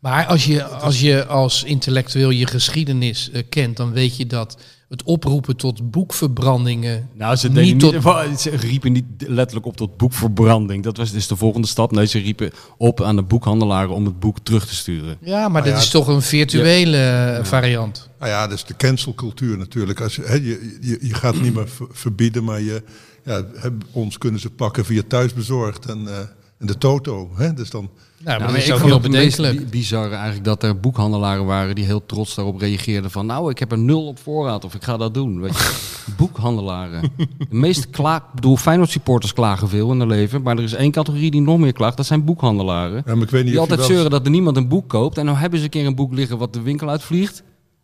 D: Maar als je als, je als intellectueel je geschiedenis eh, kent, dan weet je dat het oproepen tot boekverbrandingen.
B: Nou, ze,
D: Niet
B: deden niet
D: tot-
B: wa- ze riepen niet letterlijk op tot boekverbranding. Dat was dus de volgende stap. Nee, ze riepen op aan de boekhandelaren om het boek terug te sturen.
D: Ja, maar
F: Nou
D: dat
F: ja,
D: is toch een virtuele eh, variant.
F: Nou ja, dat is de cancelcultuur natuurlijk. Als, je- hè, je, je, je gaat niet meer ver- verbieden, maar je, ja, hè, ons kunnen ze pakken via thuisbezorgd en, eh, en de toto. Hè? Dus dan,
D: Nou, maar
B: Ja,
D: dat is
B: ik
D: ook
B: vond
D: heel
B: het het meest
D: bedenkelijk.
B: bi- bizarre eigenlijk dat er boekhandelaren waren die heel trots daarop reageerden van nou ik heb er nul op voorraad of ik ga dat doen. Weet je. boekhandelaren. De meeste klaag, ik bedoel Feyenoord supporters klagen veel in hun leven, maar er is één categorie die nog meer klaagt, dat zijn boekhandelaren.
F: ja, maar ik weet niet
B: Die
F: of je
B: altijd
F: wel-
B: zeuren dat er niemand een boek koopt en nou hebben ze een keer een boek liggen wat de winkel uitvliegt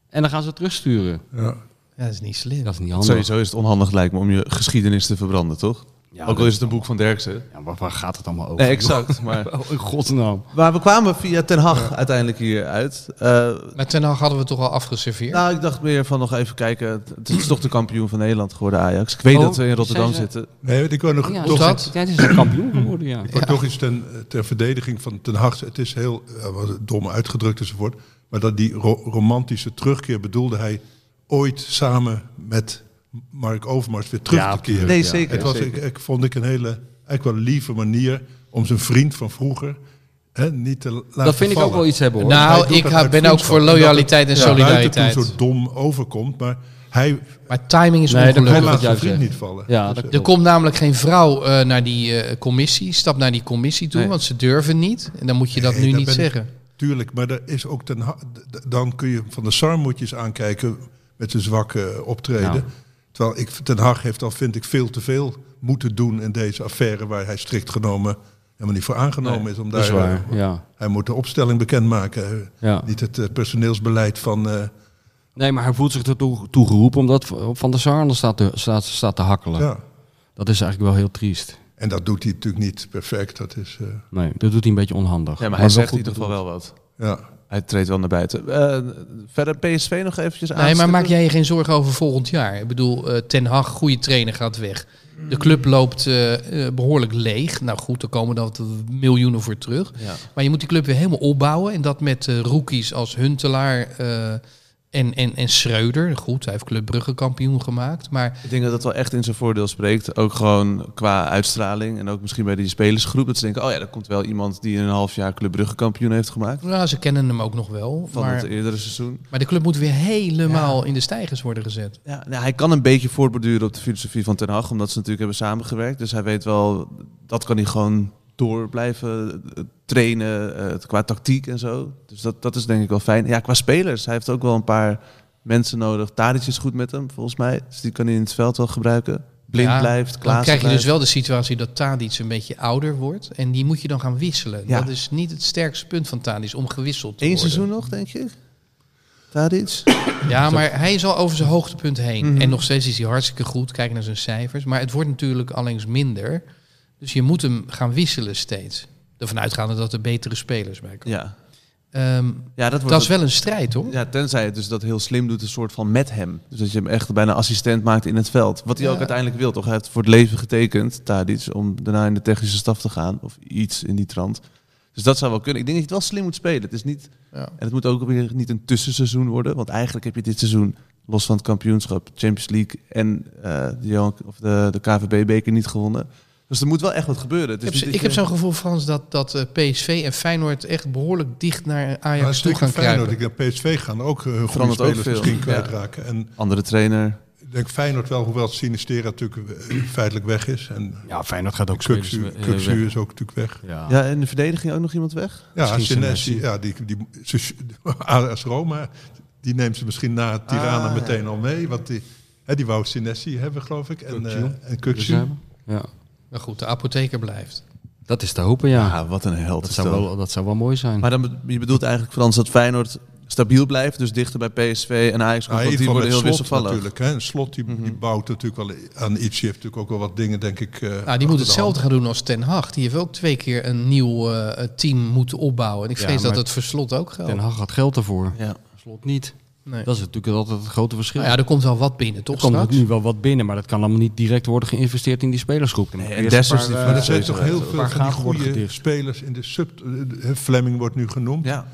B: en dan gaan ze het terugsturen.
F: Ja.
D: Ja, dat is niet slim.
B: Dat is niet handig.
C: Sowieso is het onhandig lijkt me om je geschiedenis te verbranden, toch?
B: Ja,
C: Ook al
B: dat-
C: is het een boek van Derksen.
B: Ja, waar, waar gaat het allemaal over?
C: Nee, exact. Maar,
B: Oh, in godsnaam.
C: maar we kwamen via Ten Hag uiteindelijk hier uit. Eh,
D: Maar ten Hag hadden we toch al afgeserveerd.
C: nou, ik dacht meer van nog even kijken. Het- Het is toch de kampioen van Nederland geworden, Ajax. Ik weet
B: Oh,
C: dat we in Rotterdam
B: zijn ze-
C: zitten.
F: Nee, ik wil nog
B: Ja,
F: toch,
B: toch dat? Ja, het is een kampioen geworden, ja.
F: ik wou toch iets ten, ter verdediging van Ten Hag. Het is heel eh, wat dom uitgedrukt enzovoort. Maar dat die ro- romantische terugkeer bedoelde hij ooit samen met Mark Overmars weer terug
B: Ja,
F: te keren.
C: Nee,
B: Ja.
C: zeker.
F: Het was,
C: zeker.
F: ik, ik vond ik een hele, eigenlijk wel lieve manier om zijn vriend van vroeger hè, niet te laten
B: Dat vind ik ook
F: vallen.
B: wel iets hebben hoor.
F: Hij doet
D: nou, ik
F: dat
D: ha-
F: uit
D: ben ook
F: vriendschap.
D: voor
F: En dat het
D: loyaliteit en
F: naar buiten toe
D: solidariteit.
F: zo dom overkomt, maar hij,
D: Maar timing is
B: Nee, dat
F: hij
B: klopt.
D: ongelukkig.
B: wat
F: laat zijn
B: jij
F: vriend
B: zegt.
F: niet vallen.
B: Ja,
F: Dus,
B: dat
D: Er komt namelijk geen vrouw eh, naar die eh, commissie, stap naar die commissie toe,
C: Nee.
D: want ze durven niet. En dan moet je dat
F: Nee,
D: nu
F: daar
D: niet
F: ben ik-
D: zeggen.
F: Tuurlijk, maar er is ook ten ha- d- d- dan kun je van de Sar moet je eens aankijken met zijn zwakke optreden.
B: Ja.
F: Terwijl ik, Ten Hag heeft al, vind ik, veel te veel moeten doen in deze affaire... waar hij strikt genomen helemaal niet voor aangenomen is. Om
B: dat is
F: daar,
B: waar.
F: eh,
B: Ja.
F: Hij moet de opstelling bekendmaken.
B: Ja.
F: Niet het eh, personeelsbeleid van... eh,
B: Nee, maar hij voelt zich ertoe toe geroepen omdat Van der Sar anders staat te, staat, staat te hakkelen.
F: ja.
B: Dat is eigenlijk wel heel triest.
F: En dat doet hij natuurlijk niet perfect. Dat is, eh,
B: Nee, dat doet hij een beetje onhandig.
C: Ja, maar hij zegt
B: wel
C: in
B: goed
C: ieder geval wel wat.
F: ja.
C: Hij treedt wel naar buiten. Eh, verder PSV nog eventjes aan.
D: Nee, maar maak jij je geen zorgen over volgend jaar? Ik bedoel, eh, Ten Hag, goede trainer, gaat weg. De club loopt eh, eh, behoorlijk leeg. Nou goed, er komen dan wat miljoenen voor terug.
C: Ja.
D: Maar je moet die club weer helemaal opbouwen. En dat met eh, rookies als Huntelaar eh, en, en, en Schreuder. Goed, hij heeft Club Brugge kampioen gemaakt. Maar
C: Ik denk dat dat wel echt in zijn voordeel spreekt. Ook gewoon qua uitstraling en ook misschien bij die spelersgroep. Dat ze denken, oh ja, er komt wel iemand die in een half jaar Club Brugge kampioen heeft gemaakt.
D: nou, ze kennen hem ook nog wel.
C: Van het
D: Maar,
C: eerdere seizoen.
D: maar de club moet weer helemaal in de stijgers worden gezet.
C: Ja, nou, hij kan een beetje voortborduren op de filosofie van Ten Hag. Omdat ze natuurlijk hebben samengewerkt. Dus hij weet wel, dat kan hij gewoon door blijven eh, trainen. eh, qua tactiek en zo. Dus dat, dat is denk ik wel fijn. Ja, qua spelers. Hij heeft ook wel een paar mensen nodig. Tadic is goed met hem, volgens mij. Dus die kan hij in het veld wel gebruiken. Blind
D: Ja,
C: blijft, Klaas
D: Dan krijg je dus wel de situatie dat Tadic een beetje ouder wordt. En die moet je dan gaan wisselen.
C: Ja.
D: Dat is niet het sterkste punt van Tadic, om gewisseld te
C: Eén
D: worden.
C: seizoen nog, denk je? Tadic?
D: Ja, maar hij is al over zijn hoogtepunt heen.
C: Mhm.
D: En nog steeds is hij hartstikke goed. Kijk naar zijn cijfers. Maar het wordt natuurlijk allengs minder. Dus je moet hem gaan wisselen steeds. Ervan uitgaande dat er betere spelers bij komen.
C: Ja.
D: Ehm,
C: Ja, dat wordt
D: dat is wel een strijd hoor.
C: Ja, tenzij het dus dat heel slim doet, een soort van met hem. Dus dat je hem echt bijna assistent maakt in het veld. Wat hij
D: Ja.
C: ook uiteindelijk wil, toch? Hij heeft voor het leven getekend, Tadic, om daarna in de technische staf te gaan. Of iets in die trant. Dus dat zou wel kunnen. Ik denk dat je het wel slim moet spelen. Het is niet,
D: Ja.
C: en het moet ook weer niet een tussenseizoen worden. Want eigenlijk heb je dit seizoen, los van het kampioenschap, Champions League en eh, de, Johan- of de, de KVB-beker niet gewonnen. Dus er moet wel echt wat gebeuren. Het is
D: Ik
C: niet
D: heb,
C: dat
D: ik heb
C: je-
D: zo'n gevoel, Frans, dat, dat eh, PSV en Feyenoord echt behoorlijk dicht naar
F: Maar
D: Ajax toe
F: zeker
D: gaan
F: Feyenoord,
D: kruipen.
F: ik denk PSV gaan ook eh, hun goede
C: Verandert ook
F: spelers
C: veel.
F: misschien
C: Ja.
F: kwijtraken. En
C: andere trainer.
F: ik denk Feyenoord wel, hoewel het Sinistera natuurlijk eh, feitelijk weg is. En
B: Ja, Feyenoord gaat ook
F: Kuksu
B: spelers, eh,
F: Kuksu
B: weg.
F: is ook natuurlijk weg.
B: Ja.
C: Ja, en de verdediging ook nog iemand weg?
F: Ja,
B: Misschien
F: Senesi,
B: Senesi.
F: ja, die, die, ze- AS Roma, die neemt ze misschien na Tirana
C: Ah.
F: meteen al mee. Want die, hè, die wou Senesi hebben, geloof ik. En,
B: Kukçu.
F: eh,
C: Dus
F: en Kukçu.
B: Ja. Dus Ja.
D: Maar goed, de apotheker blijft.
B: Dat is te hopen, ja.
C: Ah, wat een held.
B: dat,
C: is
B: zou
C: dat.
B: wel, dat zou wel mooi zijn.
C: Maar dan, be- je bedoelt eigenlijk, Frans, dat Feyenoord stabiel blijft, dus dichter bij PSV en Ajax komt,
F: Nou, in
C: want
F: ieder
C: die
F: geval
C: worden
F: met
C: heel
F: slot
C: wisselvallig. Mhm.
F: natuurlijk. Hè. En slot die, die bouwt natuurlijk wel aan iets. Die heeft natuurlijk ook wel wat dingen, denk ik. eh,
D: Nou,
F: achter de
D: die moet
F: hand.
D: hetzelfde gaan doen als Ten Hag. Die heeft ook twee keer een nieuw eh, team moeten opbouwen. En ik
B: Ja,
D: vrees dat
B: maar-
D: het voor slot ook geldt.
B: Ten Hag had geld ervoor.
C: Ja.
B: Slot niet.
D: Nee.
B: Dat is natuurlijk altijd het grote verschil.
D: Nou ja, er komt wel wat binnen,
B: er
D: toch?
B: komt
D: straks?
B: nu wel wat binnen, maar dat kan allemaal niet direct worden geïnvesteerd in die spelersgroep. Dan moet
C: Nee,
B: je
C: en
B: eerst een
C: Dessers
B: paar,
C: die-
B: eh,
F: Maar er zijn
C: Ja,
F: toch
C: zeker.
F: heel
B: Een
F: veel
B: paar
F: van die
B: gaten worden
F: goede
B: gedicht.
F: spelers in de sub... eh, eh, Fleming wordt nu genoemd.
C: Ja.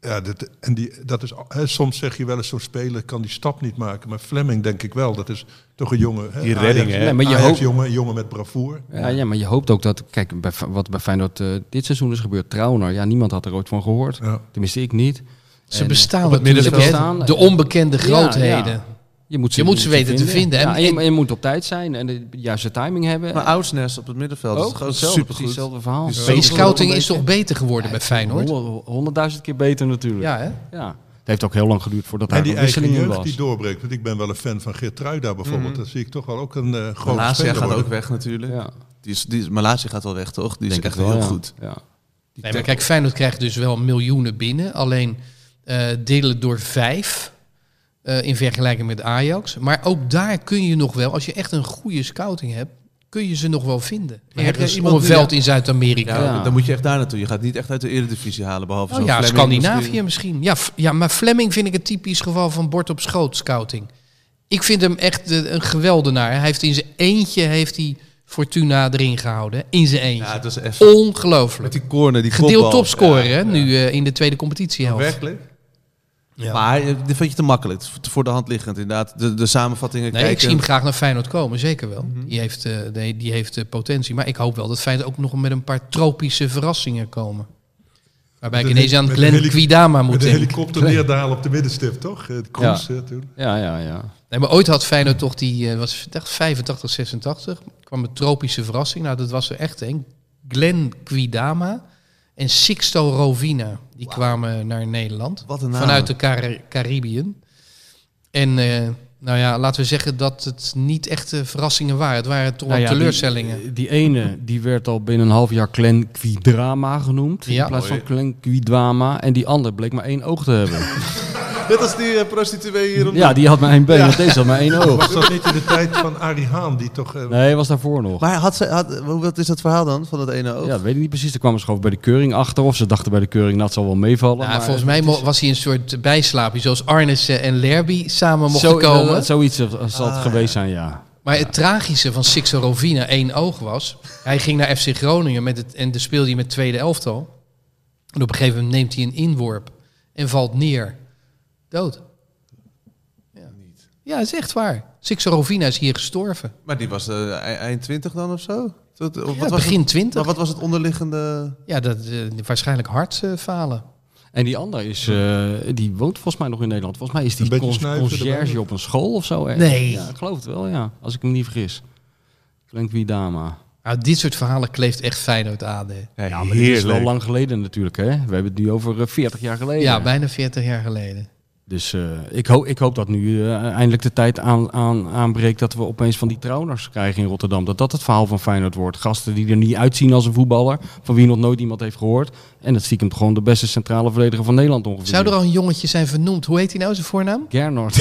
F: Ja, dat, en die, dat is, al- hè, soms zeg je wel eens zo'n speler kan die stap niet maken. Maar Fleming denk ik wel. Dat is toch een jongen. Hè,
C: Die redding, hè?
B: Nee, maar je
F: Ajax,
B: hoopt-
F: jongen, een jongen met bravoer.
B: Ja, ja, maar je hoopt ook dat... Kijk, bij, Fe- wat bij Feyenoord eh, dit seizoen is gebeurd, Trauner. Ja, niemand had er ooit van gehoord.
F: Ja.
B: Tenminste, ik niet.
D: Ze
B: En, eh,
D: bestaan
B: op het
D: natuurlijk, hè,
B: middenveld staan,
D: de
B: eh,
D: onbekende
B: ja,
D: grootheden.
B: ja. Je moet ze,
D: Je moet ze weten te vinden.
B: Ja,
D: En-
B: en, je-
D: en-
B: en je moet op tijd zijn en de juiste timing hebben.
C: Maar Oudsnes op het middenveld
B: ook
C: is gewoon
B: hetzelfde, precies
C: Oh, supergoed.
B: hetzelfde verhaal.
C: Die
D: Maar je
C: Zo-
D: scouting is toch beter geworden bij
B: Honderd-
D: Feyenoord?
B: Honderdduizend keer beter natuurlijk.
D: Ja, hè?
B: Ja. Het heeft ook heel lang geduurd voordat
F: En
B: daar
F: die
B: een
F: eigen
B: wisseling in
F: jeugd
B: was. Mhm.
F: die doorbreekt. Want ik ben wel een fan van Geert Truida bijvoorbeeld. Dat zie ik toch wel ook een eh grote
C: Malasia
F: speler
C: gaat
F: worden.
C: ook weg natuurlijk.
B: Ja,
C: Die is, die is, Malasia gaat wel weg, toch? Die is
B: denk
C: echt
B: het
C: heel
B: wel, ja.
C: goed.
B: Ja.
D: Nee, maar kijk, Feyenoord krijgt dus wel miljoenen binnen. Alleen eh, delen door vijf eh, in vergelijking met Ajax. Maar ook daar kun je nog wel, als je echt een goede scouting hebt, kun je ze nog wel vinden.
F: heb jij
B: dus
D: Ergens op
F: iemand
D: een
F: die-
D: veld in Zuid-Amerika.
C: Ja,
D: Ja.
B: Ja.
C: Dan moet je echt daar naartoe. Je gaat niet echt uit de eredivisie halen, behalve
D: Oh
C: zo'n
D: ja,
C: Flemming
D: Scandinavië
C: misschien.
D: misschien. Ja, F- ja, maar Fleming vind ik een typisch geval van bord op schoot scouting. Ik vind hem echt eh, een geweldenaar. Hij heeft in zijn eentje heeft hij Fortuna erin gehouden. In zijn
C: Ja,
D: eentje.
C: het was echt... Met
D: Ongelooflijk.
C: die corner, die
D: Gedeeld
C: kopbal.
D: topscorer
C: Ja,
D: hè,
C: ja.
D: nu eh, in de tweede competitiehelft.
C: Werkelijk?
D: Ja.
C: Maar eh, dit vond je te makkelijk. Het is Voor de hand liggend, inderdaad. De, de samenvattingen
D: Nee,
C: kijken.
D: ik zie hem graag naar Feyenoord komen, zeker wel.
C: Mhm.
D: Die heeft, eh, die, die heeft eh, potentie. Maar ik hoop wel dat Feyenoord ook nog met een paar tropische verrassingen komen. Waarbij ik
F: Met een
D: ineens
F: heli-
D: aan
F: met
D: Glenn
F: een heli-
D: Quidama moet
F: Met de
D: denken.
F: helikopter neerdalen op de middenstip, toch? Eh, De Kroes eh, toen.
B: Ja, ja, Nou ja.
D: Nee, maar ooit had Feyenoord toch die, eh, was het echt 85, 86. kwam een tropische verrassing. Nou, dat was er echt één. Glenn Quidama en Sixto Rovina. Die kwamen naar Nederland.
C: Wat een naam.
D: Vanuit de Car- Caribbean. En eh, nou ja, laten we zeggen dat het niet echt eh, verrassingen waren. Het waren toch wel
B: Nou ja,
D: teleurstellingen.
B: Die, die ene die werd al binnen een half jaar Clan Quidrama genoemd.
D: Ja.
B: In plaats van Clan Quidwama. En die ander bleek maar één oog te hebben.
C: Net als die eh, prostituee hier om
B: ja, die had maar één been. want Deze had maar één oog.
F: Was dat niet in de tijd van Arie Haan, die toch... eh,
B: Nee, hij was daarvoor nog.
C: Maar had ze, had, hoe- wat is dat verhaal dan van dat ene oog?
B: Ja, dat weet ik niet precies. Er kwamen ze gewoon bij de keuring achter. Of ze dachten bij de keuring, dat zal wel meevallen.
D: Nou,
B: maar
D: volgens mij mo- was hij een soort bijslaapje, zoals Arnissen en Lerby samen mochten
B: zo,
D: komen. Ah,
B: inderdaad, Zoiets zal zal het geweest zijn, ja.
D: Maar het tragische van Sixto Rovina één oog was, hij ging naar FC Groningen met het, en dan speelde hij met tweede elftal. En op een gegeven moment neemt hij een inworp en valt neer. Dood. Ja, ja dat is echt waar. Sixto Rovina is hier gestorven.
C: Maar die was eh, ei- eind 20 dan of zo? Tot, of
D: Ja,
C: wat was
D: begin
C: het, maar
D: twintig.
C: wat was het onderliggende?
D: Ja, dat, eh, waarschijnlijk hartfalen.
B: En die ander is, eh, die woont volgens mij nog in Nederland. Volgens mij is
F: Een
B: die
F: beetje
B: con-
F: snuiven
B: conciërge
F: erbij.
B: op een school of zo. ergens.
D: Nee.
B: Ja, ik geloof het wel, ja. Als ik me niet vergis. Klinkt wie dama.
D: nou, dit soort verhalen kleeft echt Feyenoord aan. hè.
C: Ja,
B: Ja, maar dit is wel lang geleden natuurlijk, hè. We hebben het nu over eh, 40 jaar geleden.
D: Ja, bijna 40 jaar geleden.
B: Dus eh, ik, hoop, ik hoop dat nu eh, eindelijk de tijd aan, aan, aanbreekt dat we opeens van die trouwners krijgen in Rotterdam. Dat dat het verhaal van Feyenoord wordt. Gasten die er niet uitzien als een voetballer, van wie nog nooit iemand heeft gehoord. En dat stiekem gewoon de beste centrale verdediger van Nederland ongeveer.
D: Zou er al een jongetje zijn vernoemd? Hoe heet hij nou zijn voornaam?
B: Gernot.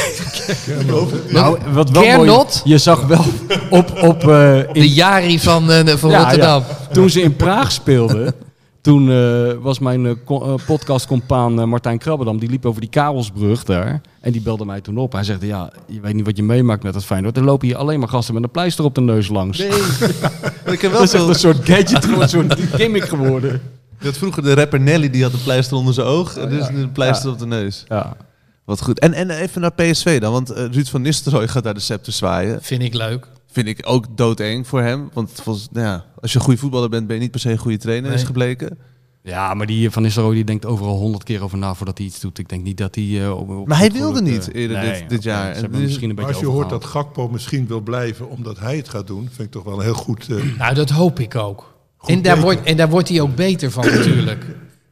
D: Nou,
B: Wat wel
D: Gernot?
B: mooi, je zag wel op, op eh, in,
D: de Jari van, eh, van
B: Ja,
D: Rotterdam.
B: toen ze in Praag speelden. Toen eh, was mijn eh, co- eh, podcastcompaan eh, Martijn Krabbedam, die liep over die Karelsbrug daar. En die belde mij toen op. Hij zegt, ja, je weet niet wat je meemaakt met dat Feyenoord. Er lopen hier alleen maar gasten met een pleister op de neus langs.
C: ik
B: Dat
C: heb wel
B: is echt
C: veel...
B: een soort gadget, gewoon een soort gimmick geworden.
C: Dat vroeger de rapper Nelly, die had een pleister onder zijn oog.
D: Oh,
C: En dus een pleister op de neus.
B: Ja.
C: Wat goed. En, en even naar PSV dan, want eh, Ruud van Nistelrooy gaat daar de scepter zwaaien.
D: Vind ik leuk.
C: Vind ik ook doodeng voor hem. Want volgens, nou ja, als je een goede voetballer bent, ben je niet per se een goede trainer, is
D: Nee.
C: gebleken.
B: ja, maar die eh, Van Nistelrooy die denkt overal honderd keer over na voordat hij iets doet. Ik denk niet dat hij... eh, op- op-
C: Maar hij
B: op-
C: wilde
B: eh,
C: niet eerder dit- dit
B: oké,
C: jaar. Dus
B: ze
C: En
B: hebben
C: dit
B: hem
C: is-
B: misschien een
F: Maar
B: beetje
F: als je hoort dat
B: overgehaald.
F: Gakpo misschien wil blijven omdat hij het gaat doen, vind ik toch wel een heel goed... eh,
D: Nou, dat hoop ik ook.
F: Goed
D: En daar,
F: beter.
D: wordt, en daar wordt hij ook beter van natuurlijk.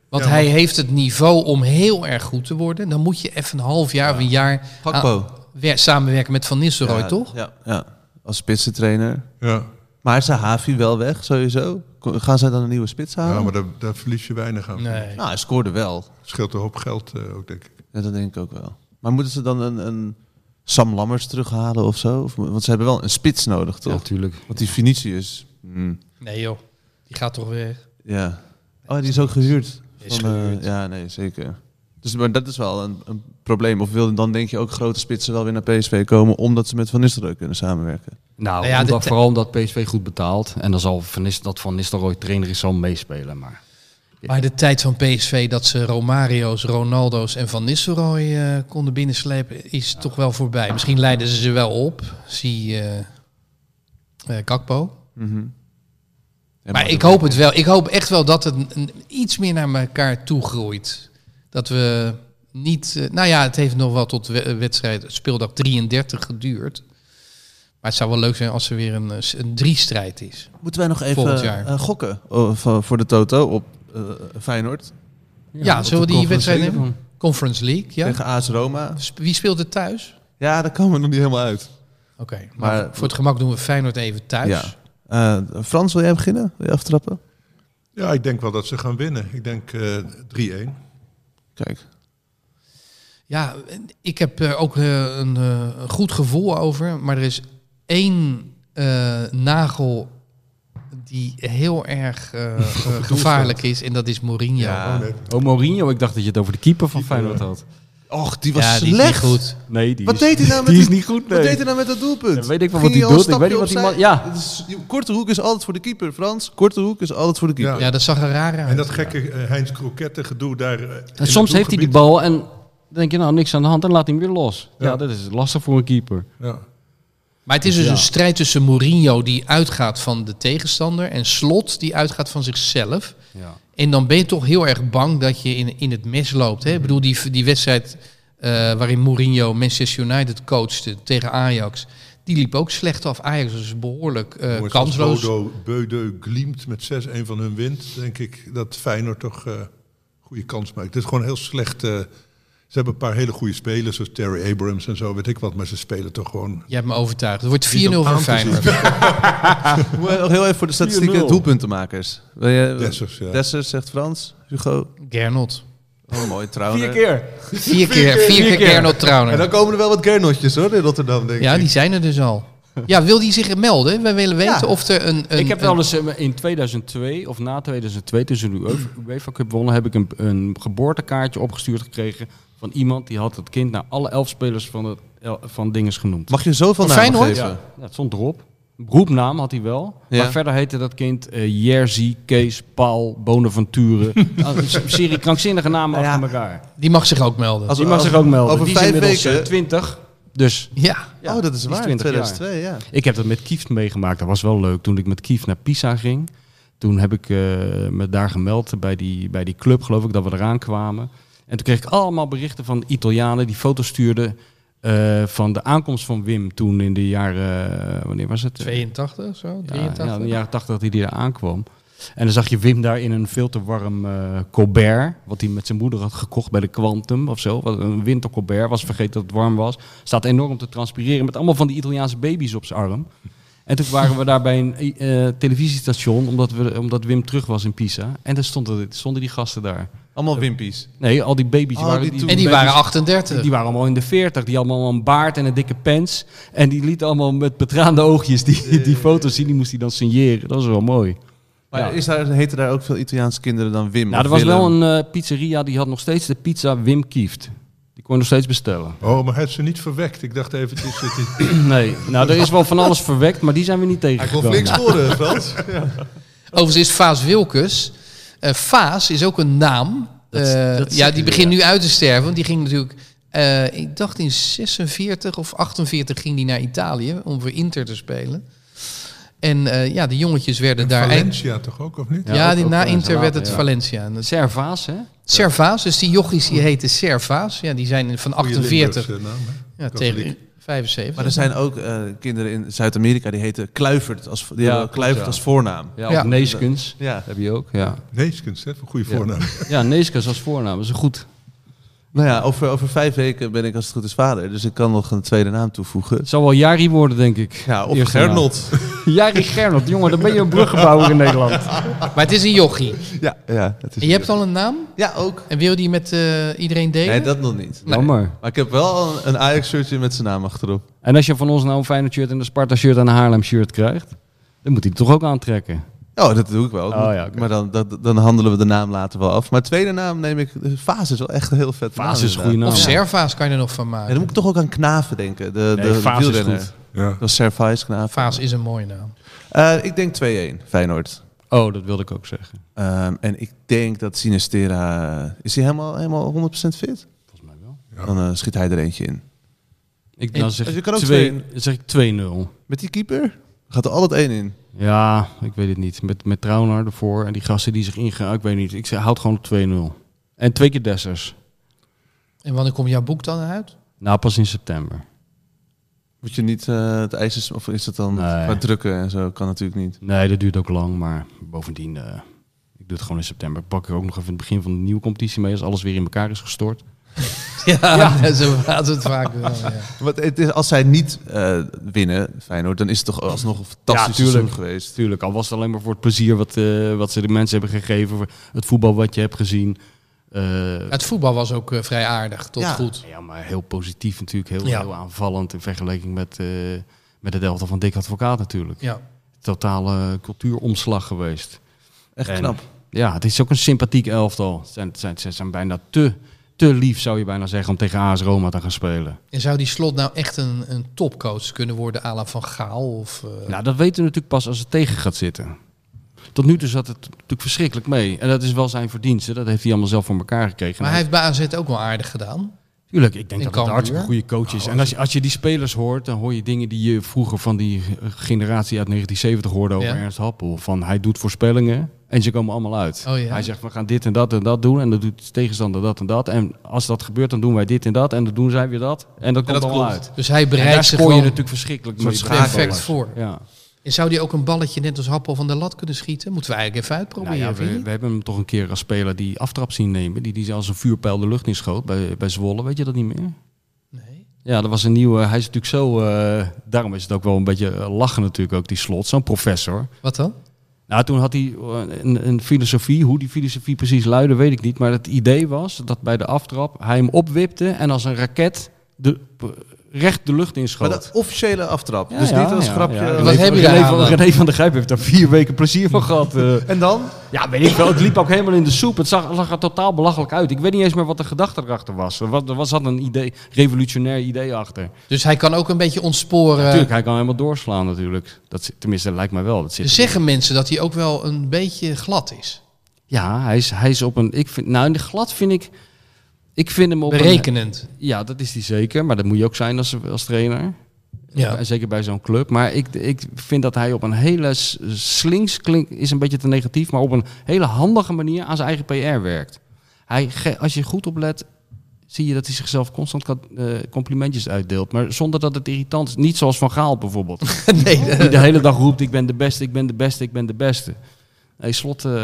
D: Want
F: Ja,
D: hij
F: want-
D: heeft het niveau om heel erg goed te worden. Dan moet je even een half jaar of een jaar
C: Gakpo.
D: aan- wer- samenwerken met Van Nistelrooy,
C: Ja,
D: toch?
C: Ja, ja, als spitsentrainer.
F: ja.
C: Maar is de Havi wel weg, sowieso? Ko- Gaan zij dan een nieuwe spits halen?
F: ja, maar daar, daar verlies je weinig aan.
D: Nee.
C: Nou, hij scoorde wel.
F: Het scheelt een hoop geld eh, ook, denk ik.
C: Ja, dat denk ik ook wel. Maar moeten ze dan een, een Sam Lammers terughalen of zo? Of, want ze hebben wel een spits nodig, toch?
B: Ja, tuurlijk.
C: want die Vinicius, mm,
D: nee joh, die gaat toch weg.
C: ja. Oh, die is ook gehuurd.
D: Is
C: Van, eh,
D: gehuurd.
C: ja, nee, zeker. Dus, maar dat is wel een, een probleem. Of wil, dan denk je ook grote spitsen wel weer naar PSV komen... omdat ze met Van Nistelrooy kunnen samenwerken.
B: Nou,
D: Nou ja,
B: omdat-
D: dit-
B: vooral omdat PSV goed betaalt. En dan zal Van Nistel, dat Van Nistelrooy trainer is, zal meespelen. Maar
D: Maar de tijd van PSV dat ze Romario's, Ronaldo's en Van Nistelrooy eh, konden binnenslepen is toch wel voorbij. Misschien leiden ze ze wel op, zie eh, eh, Gakpo.
C: En
D: Maar ik hoop het wel. Ik hoop echt wel dat het een- een- iets meer naar elkaar toe groeit. Dat we niet. eh, nou ja, het heeft nog wel tot we- wedstrijd speeldag 33 geduurd. Maar het zou wel leuk zijn als er weer een, eh, s- een driestrijd is.
C: Moeten wij nog
D: Volgend
C: even
D: jaar.
C: eh, gokken oh, van- voor de Toto op eh, Feyenoord
D: Ja, zullen we die wedstrijd nemen? Conference League, ja.
C: tegen AS Roma?
D: Sp- Wie speelt er thuis?
C: Ja, daar komen we nog niet helemaal uit.
D: Oké, maar,
C: Maar-
D: voor het gemak doen we Feyenoord even thuis.
C: Ja. Eh, Frans, wil jij beginnen? Wil je aftrappen?
F: Ja, ik denk wel dat ze gaan winnen. Ik denk eh 3-1.
C: Kijk.
D: Ja, en ik heb er ook eh, een eh, een goed gevoel over. Maar er is één eh, nagel die heel erg eh, eh, gevaarlijk is. En dat is Mourinho. Ja,
C: Ja.
F: Nee,
B: Oh, Mourinho, ik dacht dat je het over de keeper van Feyenoord had.
C: Och, die was
D: die is
C: slecht.
D: niet goed.
B: Nee, die
C: Wat
B: is,
C: deed hij nou met
B: die is
C: die-
B: niet goed, nee.
C: Wat deed hij nou met dat doelpunt?
B: Ja, weet ik wel
C: Ging
B: wat hij
C: al een
B: doet. Ik weet
C: stapje
B: niet wat die
C: opzij?
B: man- ja.
C: Het is- je- korte hoek is altijd voor de keeper, Frans. Korte hoek is altijd voor de keeper.
F: Ja.
D: Ja, dat zag er raar uit.
F: En dat gekke eh, Heinz Kroketten gedoe daar. eh, in
B: En
F: het
B: soms heeft hij die
F: doelgebied.
B: bal en dan denk je, nou, niks aan de hand. En laat hij hem weer los. Ja,
F: Ja.
B: dat is lastig voor een keeper.
F: Ja.
D: Maar het is dus
B: Ja.
D: een strijd tussen Mourinho die uitgaat van de tegenstander en Slot die uitgaat van zichzelf.
B: Ja.
D: En dan ben je toch heel erg bang dat je in, in het mes loopt. Hè? Ik bedoel, die, die wedstrijd eh, waarin Mourinho Manchester United coachte tegen Ajax, die liep ook slecht af. Ajax was behoorlijk eh,
F: Jongens, als
D: kansloos.
F: Bodo Beudeu gliemt met 6-1 van hun wint. Denk ik dat Feyenoord toch eh goede kans maakt. Het is gewoon heel slecht. eh, ze hebben een paar hele goede spelers, zoals Terry Abrams en zo, weet ik wat. Maar ze spelen toch gewoon...
D: Jij hebt me overtuigd. Het wordt 4-0
F: om aan
D: voor
F: te
D: Feyenoord.
C: Moet je nog heel even voor de statistieken
B: 4-0.
C: doelpuntenmakers. Wil je,
F: Dessers, ja.
C: Dessers, zegt Frans. Hugo.
D: Gernot.
C: Oh, mooi, trouwens.
B: Vier keer.
D: Vier keer, vier keer Gernot
C: En dan
D: Trauner.
C: komen er wel wat Gernotjes hoor, in Rotterdam, denk ik.
D: Ja, die zijn er dus al. Ja, wil die zich melden? We willen weten of er een... een
B: ik heb
D: een-
B: wel eens eh, in 2002 of na 2002 tussen de UEFA UEFA Cup wonnen, heb ik een, een geboortekaartje opgestuurd gekregen van iemand die had het kind naar alle elf spelers van, het, el- van dinges genoemd.
C: Mag je zoveel
D: Van
C: namen
D: Feyenoord?
C: geven?
B: Ja, dat stond erop. Roepnaam had hij wel.
C: Ja.
B: Maar verder heette dat kind eh Jerzy, Kees, Paul, Bonaventure. Nou, een serie krankzinnige namen
C: Ja.
B: achter elkaar.
D: Die mag zich ook melden.
C: Als-
B: Die mag zich ook melden.
C: Over
B: die is
C: vijf
B: inmiddels
C: weken-
B: eh, 20. Dus
D: Ja.
B: ja,
C: oh, dat is
B: die
C: waar,
B: 20 jaar.
C: 2002, ja.
B: Ik heb dat met Kieft meegemaakt. Dat was wel leuk. Toen ik met Kieft naar Pisa ging, toen heb ik eh, me daar gemeld bij die, bij die club, geloof ik, dat we eraan kwamen. En toen kreeg ik allemaal berichten van Italianen die foto's stuurden eh, van de aankomst van Wim toen in de jaren, eh, wanneer was het?
D: 82 zo,
B: Ja, ja,
D: 83.
B: in de jaren 80 dat hij daar aankwam. En dan zag je Wim daar in een veel te warm eh, Colbert. Wat hij met zijn moeder had gekocht bij de Quantum of zo. Wat een winter Colbert was, vergeten dat het warm was. Staat enorm te transpireren met allemaal van die Italiaanse baby's op zijn arm. En toen waren we daar bij een eh, televisiestation, omdat, we, omdat Wim terug was in Pisa. En daar stonden, stonden die gasten daar.
C: Allemaal wimpies.
B: Nee, al die baby's
C: Oh,
B: waren...
C: die toen-
D: En die
B: baby's-
D: waren 38.
B: die waren allemaal in de 40. Die hadden allemaal een baard en een dikke pens. En die liet allemaal met betraande oogjes die, die foto's zien. Die moest hij dan signeren. Dat was wel mooi.
C: Maar
B: Ja.
C: is daar, heten daar ook veel Italiaanse kinderen dan Wim?
B: Nou,
C: of
B: er was
C: Willem?
B: wel een eh, pizzeria die had nog steeds de pizza Wim Kieft. Die kon je nog steeds bestellen.
F: Oh, maar hij heeft ze niet verwekt. Ik dacht even, het is, het is-
B: Nee, nou, er is wel van alles verwekt, maar die zijn we niet
F: hij kon
B: tegengekomen.
F: flink scoren, Frans.
D: Overigens is Vaas Wilkes. eh Vaas is ook een naam.
B: Dat-
D: Eh,
B: dat
D: ja,
B: zeker,
D: die begint nu uit te sterven. Want die ging natuurlijk. eh, ik dacht in 46 of 48 ging die naar Italië om voor Inter te spelen. En eh, ja, de jongetjes werden daar.
F: Valencia toch ook, of niet?
D: Ja,
B: Ja, ook-
D: die,
B: ook
D: na
B: Valencia
D: Inter werd
B: later,
D: het
B: ja.
D: Valencia. En dat-
B: Servaas, hè?
D: Servaas, dus die jochies die heten Servaas. Ja, die zijn van
F: Goeie
D: 48
F: Limburgse naam, hè?
D: ja,
F: katholiek.
D: tegen 75.
C: Maar er zijn ook eh, kinderen in Zuid-Amerika die heten Kluivert als, die
B: Ja,
C: hebben
B: klopt,
C: Kluivert
B: ja.
C: als voornaam.
B: Ja,
D: Ja.
B: of Neeskens.
C: Ja.
B: Heb je ook, ja.
F: Neeskens, hè? Een goede
B: Ja.
F: voornaam.
B: Ja, Neeskens als voornaam, is goed.
C: Nou ja, over, over vijf weken ben ik als het goed is vader, dus ik kan nog een tweede naam toevoegen.
B: Het zal wel Jari worden, denk ik.
C: Ja, of
B: Eerste
C: Gernot.
B: naam. Jari Gernot, jongen, dan ben je een bruggenbouwer in Nederland.
D: Maar het is een jochie.
C: Ja, ja, het is
D: En je hebt al een naam?
C: ja, ook.
D: En wil je die met eh, iedereen delen?
C: Nee, dat nog niet.
B: Jammer.
C: Maar ik heb wel een- een Ajax-shirtje met zijn naam achterop.
B: En als je van ons nou een Feyenoord shirt en een Sparta shirt en een Haarlem shirt krijgt, dan moet hij het toch ook aantrekken.
C: Oh, dat doe ik wel.
B: Oh, ja, oké.
C: Maar dan, dat, dan handelen we de naam later wel af. Maar tweede naam neem ik... Fase is wel echt een heel vet naam,
B: Fase is een
C: inderdaad.
B: goede naam.
D: Of
B: Ja.
D: Servaas kan je er nog van
C: En
D: maken.
C: dan moet ik toch ook aan Knaven denken. De,
B: Nee,
C: de
B: Fase is
C: wielrenner.
B: goed.
F: Ja.
C: Dat is Servais Knaven.
D: Vaas is een mooie naam.
C: Eh, ik denk 2-1, Feyenoord.
B: Oh, dat wilde ik ook zeggen.
C: Ehm, en ik denk dat Sinistera... Is hij helemaal, helemaal 100% fit?
B: Volgens mij wel.
F: Ja.
C: Dan eh, schiet hij er eentje in.
B: Ik, dan zeg,
C: Dus je
B: ik
C: kan ook
B: twee-
C: twee-
B: dan zeg ik 2-0.
C: Met die keeper? Gaat er altijd één in.
B: Ja, ik weet het niet. Met, met Trauner ervoor en die gasten die zich ingaan, ik weet niet. Ik zeg, houd gewoon op 2-0. En twee keer Dessers.
D: En wanneer komt jouw boek dan uit?
B: Nou, pas in september.
C: Moet je niet eh, het ijs... is- Of is dat dan...
B: Nee.
C: Maar drukken en zo kan natuurlijk niet.
B: Nee, dat duurt ook lang, maar bovendien, eh, ik doe het gewoon in september. Ik pak er ook nog even in het begin van de nieuwe competitie mee, als alles weer in elkaar is gestort.
D: Ja, zo gaat het vaak wel. Ja.
C: Want het is, als zij niet eh, winnen, Feyenoord, dan is het toch alsnog een fantastisch
B: Ja, tuurlijk.
C: seizoen geweest.
B: Tuurlijk, al was het alleen maar voor het plezier wat, eh, wat ze de mensen hebben gegeven, voor het voetbal wat je hebt gezien. Eh,
D: Het voetbal was ook eh, vrij aardig, tot
C: Ja.
D: goed.
B: ja, maar heel positief natuurlijk, heel,
D: Ja.
B: heel aanvallend in vergelijking met, eh, met het elftal van Dick Advocaat natuurlijk.
D: Ja.
B: Totale cultuuromslag geweest.
C: Echt
B: En-
C: knap.
B: Ja, het is ook een sympathiek elftal. Ze zijn, zijn, ze zijn bijna te, te lief, zou je bijna zeggen, om tegen AS Roma te gaan spelen.
D: En zou die slot nou echt een, een topcoach kunnen worden, à la Van Gaal? Of, eh,
B: Nou, dat weten we natuurlijk pas als het tegen gaat zitten. Tot nu toe zat het natuurlijk verschrikkelijk mee. En dat is wel zijn verdienste. Dat heeft hij allemaal zelf voor elkaar gekregen. Nou,
D: maar hij heeft bij AZ ook wel aardig gedaan.
B: Tuurlijk, ik denk dat het
D: In
B: een
D: Cambuur. Oh,
B: hartstikke goede coach is. En als je, als je die spelers hoort, dan hoor je dingen die je vroeger van die eh, generatie uit 1970 hoorde over
D: Ja.
B: Ernst Happel. Van hij doet voorspellingen en ze komen allemaal uit.
D: Oh ja.
B: Hij zegt we gaan dit en dat en dat doen en dan doet de tegenstander dat en dat. En als dat gebeurt dan doen wij dit en dat en dan doen zij weer dat. En dat komt
C: dat
B: allemaal
C: klopt.
B: uit.
D: Dus hij
B: En daar
D: bereidt zich
B: scoor je
D: gewoon
B: natuurlijk verschrikkelijk
C: soort
B: mee.
D: perfect voor.
B: Ja.
D: En zou die ook een balletje net als Happel van de lat kunnen schieten? Moeten we eigenlijk even
B: Nou
D: uitproberen.
B: ja,
D: vind je
B: we,
D: niet?
B: we hebben hem toch een keer als speler die aftrap zien nemen. Die, die als een vuurpijl de lucht in schoot bij, bij Zwolle. Weet je dat niet meer?
D: nee.
B: Ja, dat was een nieuwe. Hij is natuurlijk zo. eh, daarom is het ook wel een beetje eh, lachen, natuurlijk, ook die slot. Zo'n professor.
D: Wat dan?
B: Nou, toen had hij eh, een, een filosofie. Hoe die filosofie precies luidde, weet ik niet. Maar het idee was dat bij de aftrap hij hem opwipte en als een raket de, recht de lucht in
C: Maar
B: schoot.
C: de officiële aftrap.
B: Ja,
C: dus
B: ja,
C: niet als
B: ja,
C: grapje.
B: ja.
D: Wat heb je daar
B: René
D: aan
B: van,
D: dan?
B: René van der Grijp heeft daar vier weken plezier van gehad. eh.
C: En dan?
B: Ja, weet ik wel. Het liep ook helemaal in de soep. Het zag, zag er totaal belachelijk uit. Ik weet niet eens meer wat de gedachte erachter was. Er was, er was- zat een idee, revolutionair idee achter.
D: Dus hij kan ook een beetje ontsporen.
B: Natuurlijk, hij kan helemaal doorslaan natuurlijk. Dat, zit- tenminste, dat lijkt mij wel. Dat
D: Dus
B: zit
D: zeggen mensen dat hij ook wel een beetje glad is.
B: Ja, hij is, hij is op een... Ik vind, nou, in de glad vind ik... Ik vind hem op een-
D: Berekenend.
B: ja, dat is hij zeker. Maar dat moet je ook zijn als, als trainer.
D: Ja.
B: En Zeker bij zo'n club. Maar ik, ik vind dat hij op een hele s- slinks klinkt, is een beetje te negatief, maar op een hele handige manier aan zijn eigen PR werkt. Hij, ge- als je goed oplet, zie je dat hij zichzelf constant kan- eh, complimentjes uitdeelt. Maar zonder dat het irritant is. Niet zoals Van Gaal bijvoorbeeld.
D: nee,
B: die de hele dag roept, ik ben de beste, ik ben de beste, ik ben de beste. Nee, slot... eh,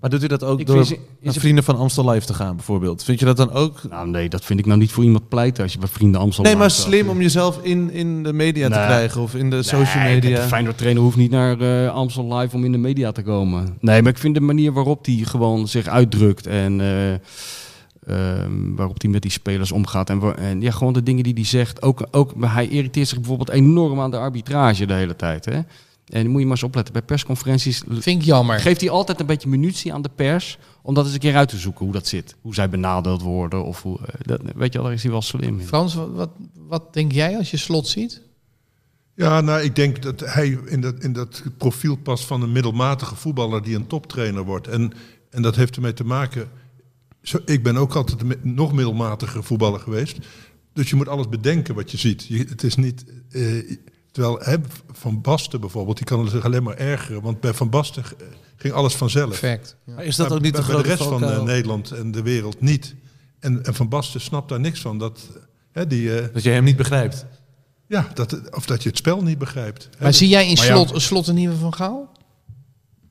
C: Maar doet u dat ook
B: Ik
C: door
B: vind ze- is
C: naar
B: het-
C: vrienden van Amstel Live te gaan, bijvoorbeeld? Vind je dat dan ook...
B: nou nee, dat vind ik nou niet voor iemand pleiten als je bij vrienden Amsterdam...
C: Nee, maar
B: staat.
C: slim om jezelf in, in de media te
B: Nee.
C: krijgen of in de social
B: Nee, kijk,
C: media.
B: De Feyenoord trainer hoeft niet naar eh Amstel Live om in de media te komen. Nee, maar ik vind de manier waarop hij gewoon zich uitdrukt en eh, ehm, waarop hij met die spelers omgaat. En, wa- en ja, gewoon de dingen die hij zegt. Ook, ook, maar hij irriteert zich bijvoorbeeld enorm aan de arbitrage de hele tijd. Hè? En dan moet je maar eens opletten. Bij persconferenties
D: Vind ik jammer.
B: geeft hij altijd een beetje munitie aan de pers. Om dat eens een keer uit te zoeken hoe dat zit. Hoe zij benadeeld worden. Of hoe, eh, dat, weet je wel, daar is hij wel slim in.
D: Frans, wat, wat, wat denk jij als je slot ziet?
F: Ja, nou, ik denk dat hij in dat, in dat profiel past van een middelmatige voetballer die een toptrainer wordt. En, en dat heeft ermee te maken. Zo, ik ben ook altijd een mi- nog middelmatiger voetballer geweest. Dus je moet alles bedenken wat je ziet. Je, het is niet. eh, terwijl hè, Van Basten bijvoorbeeld, die kan zich alleen maar ergeren. Want bij Van Basten eh, ging alles vanzelf.
D: Perfect. Ja.
C: Maar is dat
F: Maar
C: ook niet
F: bij
C: de
F: bij
C: grote
F: de rest van
C: valkuil?
F: eh, Nederland en de wereld niet. En, en Van Basten snapt daar niks van. Dat, hè, die, eh,
C: Dat je hem niet begrijpt.
F: ja, dat, of dat je het spel niet begrijpt. Hè,
D: Maar zie jij in
B: Maar ja.
D: slot, slot een nieuwe Van Gaal?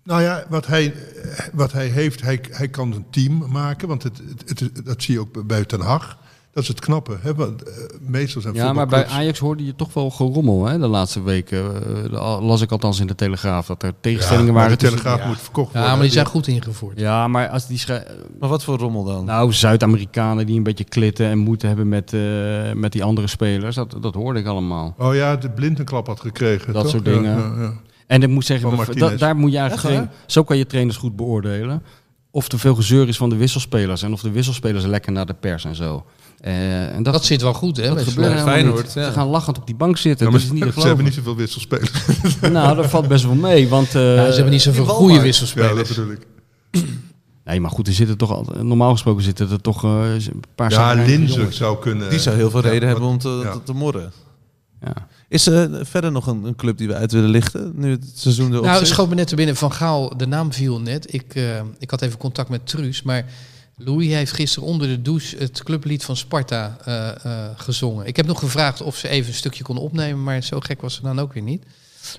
F: Nou ja, wat hij, eh, wat hij heeft, hij, hij kan een team maken. Want het, het, het- dat zie je ook bij Den Haag. Dat is het knappe. Hè? Want, eh, meestal zijn
B: Ja, maar bij
F: voetbalclubs-
B: Ajax hoorde je toch wel gerommel hè, de laatste weken. Eh, la- las ik althans in de Telegraaf dat er tegenstellingen
F: Ja, maar
B: waren.
F: de
B: tussen-
F: Telegraaf
B: ja.
F: moet
D: Ja,
F: verkocht worden.
D: maar die
F: hè.
D: zijn goed ingevoerd.
B: Ja, maar als die schrij-
C: Maar wat voor rommel dan?
B: nou, Zuid-Amerikanen die een beetje klitten en moeite hebben met, eh, met die andere spelers, dat, dat hoorde ik allemaal.
F: Oh ja, de blind een klap had gekregen.
B: Dat
F: toch?
B: soort
F: Ja,
B: dingen.
F: ja, ja.
B: En ik moet zeggen,
F: Van
B: we-
F: Martinez.
B: da- daar moet je eigenlijk
C: Echt waar?
B: trainen- zo kan je trainers goed beoordelen of er veel gezeur is van de wisselspelers en of de wisselspelers lekker naar de pers en zo. Eh, en dat,
D: Dat, zit wel goed, hè?
B: dat
D: bij
B: gebeurt
D: slot.
B: helemaal
C: Feyenoord,
B: niet.
C: ja.
B: Ze gaan lachend op die bank zitten.
F: Ja,
B: dat
F: maar
B: is
F: ze,
B: niet te
F: ze hebben niet
B: geloven.
F: zoveel wisselspelers.
B: Nou, dat valt best wel mee, want eh,
D: Ja, ze hebben niet zoveel
C: die
D: goede
C: Walmart.
F: ja, dat
D: wisselspelers.
F: bedoel ik.
B: Nee, maar goed, er zitten toch al, normaal gesproken zitten er toch eh, een paar
F: Ja,
B: zagrijnige
F: Linzen
B: jongens.
F: zou kunnen.
C: Die zou heel veel
F: eh, Ja,
C: reden
F: wat-
C: hebben om te,
F: ja.
C: te, te morren.
B: Ja.
C: Is er verder nog een, een club die we uit willen lichten? Nu het seizoen erop
D: Nou,
C: zit?
D: schoot me net te binnen. Van Gaal, de naam viel net. Ik, eh, ik had even contact met Truus, maar Louis heeft gisteren onder de douche het clublied van Sparta eh, eh, gezongen. Ik heb nog gevraagd of ze even een stukje kon opnemen, maar zo gek was ze dan ook weer niet.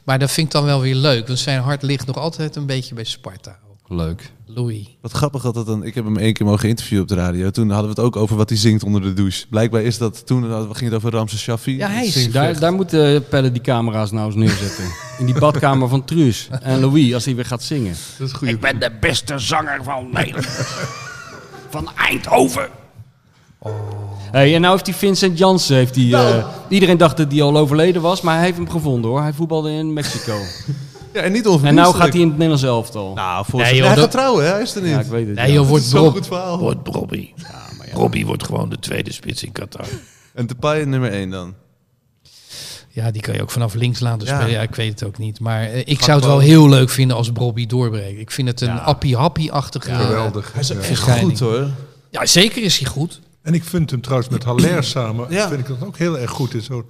D: Maar dat vind ik dan wel weer leuk, want zijn hart ligt nog altijd een beetje bij Sparta.
B: Leuk.
D: Louis.
C: Wat grappig dat dat dan... Ik heb hem één keer mogen interviewen op de radio. Toen hadden we het ook over wat hij zingt onder de douche. Blijkbaar is dat... Toen hadden we- ging het over Ramses Shaffi.
D: Ja, hij is-
C: Zingt-
B: Daar, daar moeten Pelle die camera's nou eens neerzetten. In die badkamer van Truus en Louis, als hij weer gaat zingen.
F: Dat is
G: Ik
F: goed.
G: ben de beste zanger van Nederland. Van Eindhoven.
B: Hey, en nou heeft die Vincent Jansen, heeft die,
F: Nou.
B: eh, iedereen dacht dat hij al overleden was, maar hij heeft hem gevonden hoor. Hij voetbalde in Mexico.
C: Ja, en niet
B: en nou
C: onverdienstelijk.
B: gaat hij in het Nederlands elftal.
C: Nou, volgens
G: Nee, joh,
C: Hij
G: dat-
C: gaat trouwen, hè? Hij is er niet.
B: ja, ik weet het.
D: Nee
B: ja.
D: joh, wordt
C: Zo'n
D: Rob.
C: goed verhaal.
G: Wordt Robbie. Robbie wordt gewoon de tweede spits in Qatar.
C: En Depay nummer 1 dan.
D: Ja, die kan je ook vanaf links laten
C: Ja.
D: spelen. Ja, ik weet het ook niet. Maar eh, ik zou het wel heel leuk vinden als Bobby doorbreekt. Ik vind het een appie-happie-achtige... eh,
F: Geweldig.
C: Hij is echt
D: verschijning.
C: goed, hoor.
D: Ja, zeker is hij goed.
F: En ik vind hem trouwens met Haller samen,
C: Ja.
F: vind ik dat ook heel erg goed. In zo,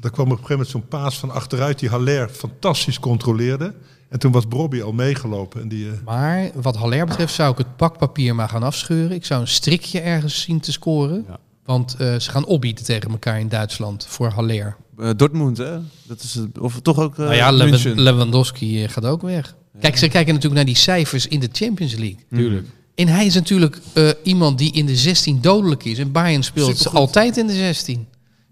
F: er kwam op een gegeven moment zo'n paas van achteruit die Haller fantastisch controleerde. En toen was Bobby al meegelopen. En die, eh,
D: Maar wat Haller betreft zou ik het pakpapier maar gaan afscheuren. Ik zou een strikje ergens zien te scoren.
B: Ja.
D: Want eh, ze gaan opbieden tegen elkaar in Duitsland voor Haller.
C: Eh, Dortmund, hè? Dat is het, of toch ook eh
D: nou ja, Lewa-
C: München.
D: Lewandowski eh, gaat ook weg. Kijk, ze kijken natuurlijk naar die cijfers in de Champions League.
C: Mm.
B: Tuurlijk.
D: En hij is natuurlijk eh, iemand die in de 16 dodelijk is. En Bayern speelt altijd in de 16.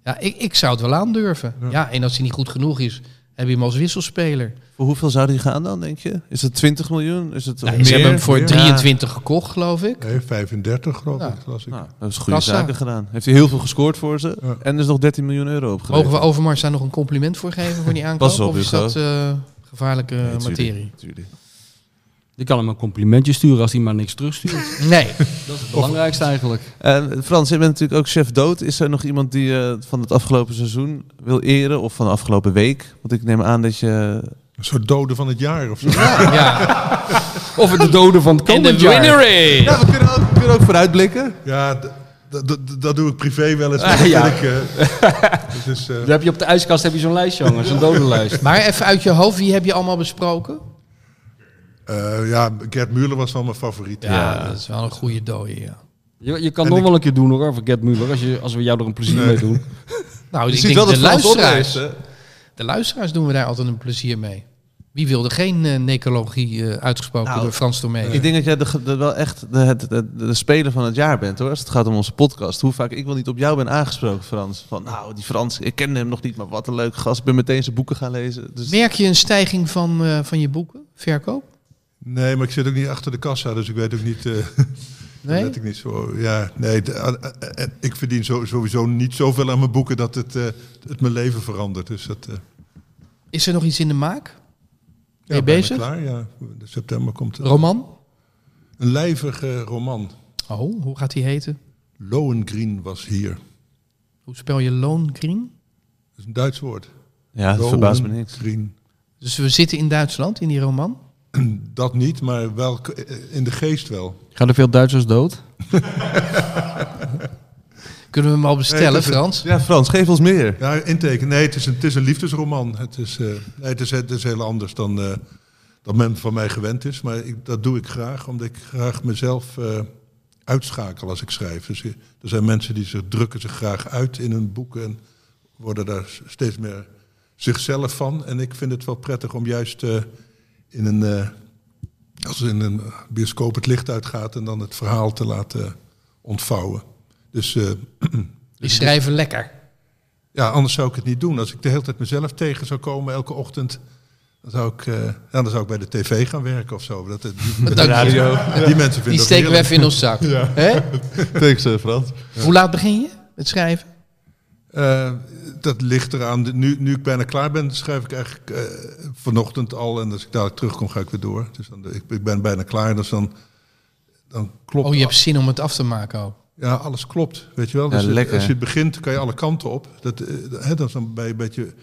D: Ja, ik, ik zou het wel aandurven. Ja. en als hij niet goed genoeg is, heb je hem als wisselspeler.
C: Voor hoeveel zou die gaan dan, denk je? Is het 20 miljoen? Is het
D: Nou,
C: meer?
D: ze hebben hem voor
C: Ja.
D: 23 gekocht, geloof ik.
F: nee, 35 geloof ik, las ik.
C: Nou, dat is goede
D: Kassa.
C: zaken gedaan. Heeft hij heel veel gescoord voor ze.
F: Ja.
C: En er is nog 13 miljoen euro opgeleverd.
D: Mogen we Overmars daar nog een compliment voor geven voor die aankoop?
C: Pas op,
D: of is
C: Hugo.
D: dat eh, gevaarlijke materie?
B: Je kan hem een complimentje sturen als hij maar niks terugstuurt.
D: Nee.
B: dat is het belangrijkste eigenlijk.
C: En Eh, Frans, jij bent natuurlijk ook chef dood. Is er nog iemand die je van het afgelopen seizoen wil eren? Of van de afgelopen week? Want ik neem aan dat je...
F: Een soort dode van het jaar of zo.
D: ja.
B: Of het de doden van het
D: En de
B: komend jaar.
D: winner
C: Ja, we kunnen ook, we kunnen ook vooruitblikken.
F: Ja, d- d- d- dat doe ik privé wel eens. maar
B: Ah,
F: dat
B: ja.
F: vind ik, eh, het is, eh,
B: Dan heb je op de ijskast heb je zo'n lijstje jongens, zo'n dodenlijst.
D: Maar even uit je hoofd, wie heb je allemaal besproken?
F: eh, ja, Gert Muller was wel mijn favoriet.
D: Ja, dat is wel een goede dode, ja.
B: Je, je kan
F: En
B: nog
F: ik-
B: wel een keer doen hoor, voor Gert Muller, als, je, als we jou er een plezier mee doen.
D: Nou,
C: Je
D: ik
C: ziet
D: denk
C: wel dat
D: de,
C: Frans
D: luisteraars,
C: opleeft, hè?
D: de luisteraars doen we daar altijd een plezier mee. Wie wilde geen eh, necrologie eh, uitgesproken
C: Nou,
D: door Frans Tomé?
C: Ik denk dat jij de, ge- de- wel echt de, het- de, de speler van het jaar bent hoor. Als het gaat om onze podcast. Hoe vaak ik wel niet op jou ben aangesproken, Frans. Van nou, die Frans, ik kende hem nog niet, maar wat een leuk gast. Ik ben meteen zijn boeken gaan lezen. Dus
D: Merk je een stijging van, eh, van je boeken, verkoop?
F: Nee, maar ik zit ook niet achter de kassa, dus ik weet ook niet... eh,
D: Nee?
F: Dat ik niet zo. Ja, nee. de- eh, eh, eh, ik verdien zo- sowieso niet zoveel aan mijn boeken dat het, eh, het mijn leven verandert. Dus dat, eh,
D: Is er nog iets in de maak? Ben je
F: bijna
D: bezig?
F: Klaar, ja. De september komt er.
D: Roman?
F: Een lijvige roman.
D: Oh, hoe gaat die heten?
F: Lohengrin was hier. Dat
D: Hoe spel je Lohengrin?
F: is een Duits woord.
C: Ja, dat verbaast me niks.
F: Lohengrin.
D: Dus we zitten in Duitsland in die roman.
F: Dat niet, maar wel k- eh, in de geest wel.
B: Gaan er veel Duitsers dood?
D: Kunnen we hem al bestellen,
F: Nee, dat is-
D: Frans?
C: Ja, Frans, geef ons meer.
F: Ja, inteken. Nee, het is een, het is een liefdesroman. Het is, eh, nee, het, is, het is heel anders dan eh, dat men van mij gewend is. Maar ik, dat doe ik graag, omdat ik graag mezelf eh, uitschakel als ik schrijf. Dus eh, er zijn mensen die zich, drukken zich graag uit in hun boeken en worden daar s- steeds meer zichzelf van. En ik vind het wel prettig om juist eh, in een, eh, als in een bioscoop het licht uitgaat en dan het verhaal te laten eh, ontvouwen. Dus eh,
D: Die schrijven lekker.
F: ja, anders zou ik het niet doen. Als ik de hele tijd mezelf tegen zou komen elke ochtend, dan zou ik, eh, ja, dan zou ik bij de tv gaan werken of zo. Dat, die, die
D: Dank je.
F: mensen vinden
D: Die
F: dat
D: steken we
F: heerlijk.
D: even in ons zak. Hè?
C: Thanks, eh, Frans.
D: Hoe laat begin je met schrijven?
F: Eh, dat ligt eraan. Nu, nu ik bijna klaar ben, schrijf ik eigenlijk eh, vanochtend al. En als ik dadelijk terugkom, ga ik weer door. Dus dan, ik, ik ben bijna klaar. Dus dan, dan klopt
D: Oh, je hebt zin om het af te maken ook.
F: Ja, alles klopt, weet je wel.
C: Ja,
F: Dus het-
C: lekker.
F: als je het begint, kan je alle kanten op. Dat, eh, hè, dan is dan ben je een beetje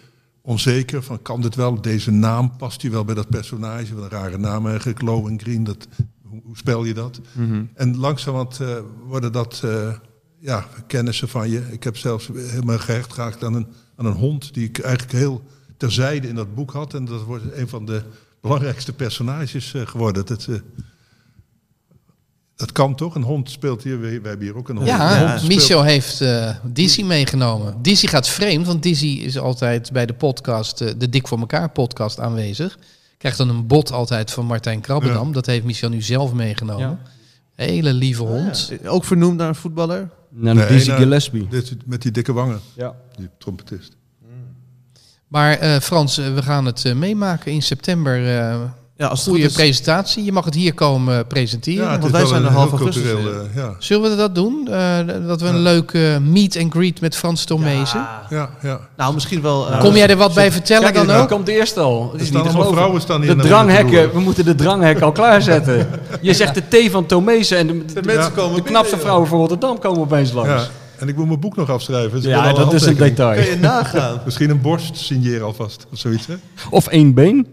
F: onzeker van, kan dit wel? Deze naam, past die wel bij dat personage? Wat een rare naam eigenlijk, Low en Green. Dat, hoe, hoe spel je dat?
C: Mhm.
F: En langzamerhand eh, worden dat eh, ja, kennissen van je. Ik heb zelfs helemaal gehecht geraakt aan een, aan een hond... die ik eigenlijk heel terzijde in dat boek had. En dat wordt een van de belangrijkste personages eh, geworden. Dat, eh, dat kan toch? Een hond speelt hier. Wij, wij hebben hier ook een hond.
D: Ja,
F: Een hond speelt-
D: Michel heeft eh Dizzy meegenomen. Dizzy gaat vreemd, want Dizzy is altijd bij de podcast, eh, de Dik voor elkaar podcast aanwezig. Krijgt dan een bot altijd van Martijn Krabbendam. Dat heeft Michel nu zelf meegenomen. Hele lieve hond.
C: Eh, Ook vernoemd naar een voetballer.
B: Naar
F: Nee,
B: Dizzy
F: nou,
B: Gillespie.
F: dit- met die dikke wangen,
B: Ja.
F: die trompetist.
D: Maar eh, Frans, eh, we gaan het eh, meemaken in september. eh
C: Ja, als het goed
D: goede
C: is.
D: presentatie. Je mag het hier komen eh, presenteren.
F: het
C: want
F: is
C: wij
F: wel
C: zijn
F: een
C: er half
F: heel
C: augustus
F: cultureel, eh, ja.
D: Zullen we dat doen? Eh, dat we een leuke eh, meet and greet met Frans Tormezen.
F: Ja, ja.
C: Nou, misschien wel... eh,
D: Kom jij er wat bij vertellen dan ook?
B: komt eerst al. Het
F: nou. Er staan allemaal vrouwen staan hier.
B: De
F: naar binnen te
B: dranghekken,
F: roeren.
B: we moeten de dranghekken al klaarzetten. Je zegt de T van Tomezen en de, de,
C: mensen komen
B: de
C: binnen,
B: knapste
C: joh.
B: vrouwen van Rotterdam komen opeens langs.
F: Ja,
B: Ja,
F: en ik moet mijn boek nog afschrijven. dus ik wil al
B: dat is een
F: handtekening.
C: Kan je
B: detail.
C: nagaan.
F: Misschien een borst signeren alvast, of zoiets. Hè?
B: Of één been.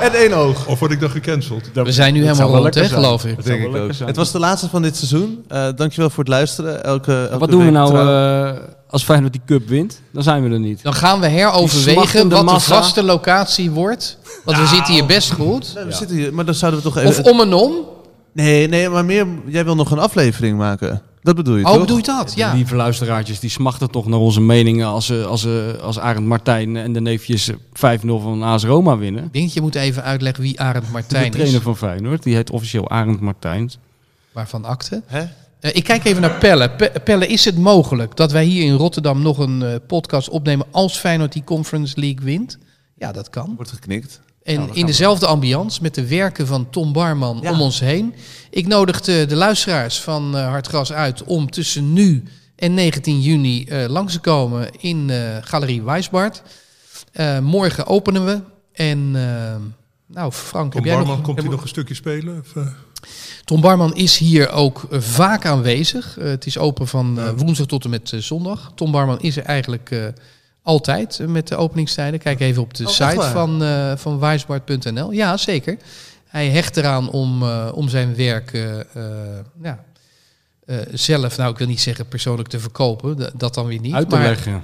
C: En één oog.
F: Of word ik dan gecanceld?
B: Dat-
D: We zijn nu
B: dat zou wel
D: helemaal rond,
B: lekker
D: hè,
B: zijn.
D: geloof ik.
B: Dat zou
C: Denk
B: wel
C: ik
B: lekker
C: ook.
B: zijn.
C: Het was de laatste van dit seizoen. Eh, dankjewel voor het luisteren. Elke, elke
B: Wat doen we
C: week
B: nou
C: trouw.
B: eh, als Feyenoord die cup wint? Dan zijn we er niet.
D: Dan gaan we
B: Die
D: heroverwegen
B: smachtende
D: wat de
B: massa.
D: vaste locatie wordt. Want we zitten hier best goed.
C: Nee, we zitten hier, maar dan zouden we toch even...
D: Of om en om.
C: Nee, nee, maar meer... Jij wil nog een aflevering maken. Dat bedoel je,
D: Oh,
C: toch?
D: bedoel je dat? Ja.
B: Lieve luisteraartjes, die smachten toch naar onze meningen als, eh, als, eh, als Arend Martijn en de neefjes eh, 5-0 van AS Roma winnen.
D: Ik denk dat je moet even uitleggen wie Arend
B: De
D: Martijn is.
B: trainer van Feyenoord, die heet officieel Arend Martijn.
D: Waarvan akte.
C: Hè?
D: Eh, ik kijk even naar Pelle. Pe- Pelle, is het mogelijk dat wij hier in Rotterdam nog een eh, podcast opnemen als Feyenoord die Conference League wint? Ja, dat kan.
C: Wordt geknikt.
D: En in dezelfde ambiance met de werken van Tom Barman
C: Ja.
D: om ons heen. Ik nodig de, de luisteraars van eh, Hartgras uit om tussen nu en 19 juni eh, langs te komen in eh, Galerie Wijsbart. Eh, morgen openen we. En eh, nou, Frank,
F: Kom
D: heb jij
F: Barman,
D: nog,
F: komt hij
D: heb-
F: nog een stukje spelen? Of, eh?
D: Tom Barman is hier ook eh, vaak aanwezig. Eh, het is open van eh, woensdag tot en met eh, zondag. Tom Barman is er eigenlijk eh, altijd eh, met de openingstijden. Kijk even op de
B: Oh,
C: echt
D: site
C: waar?
D: van, eh van wijsbart.nl. Ja, zeker. Hij hecht eraan om, eh, om zijn werk eh, eh, ja, eh, zelf, nou ik wil niet zeggen persoonlijk te verkopen, d- dat dan weer niet.
B: Uit te
D: maar-
B: leggen.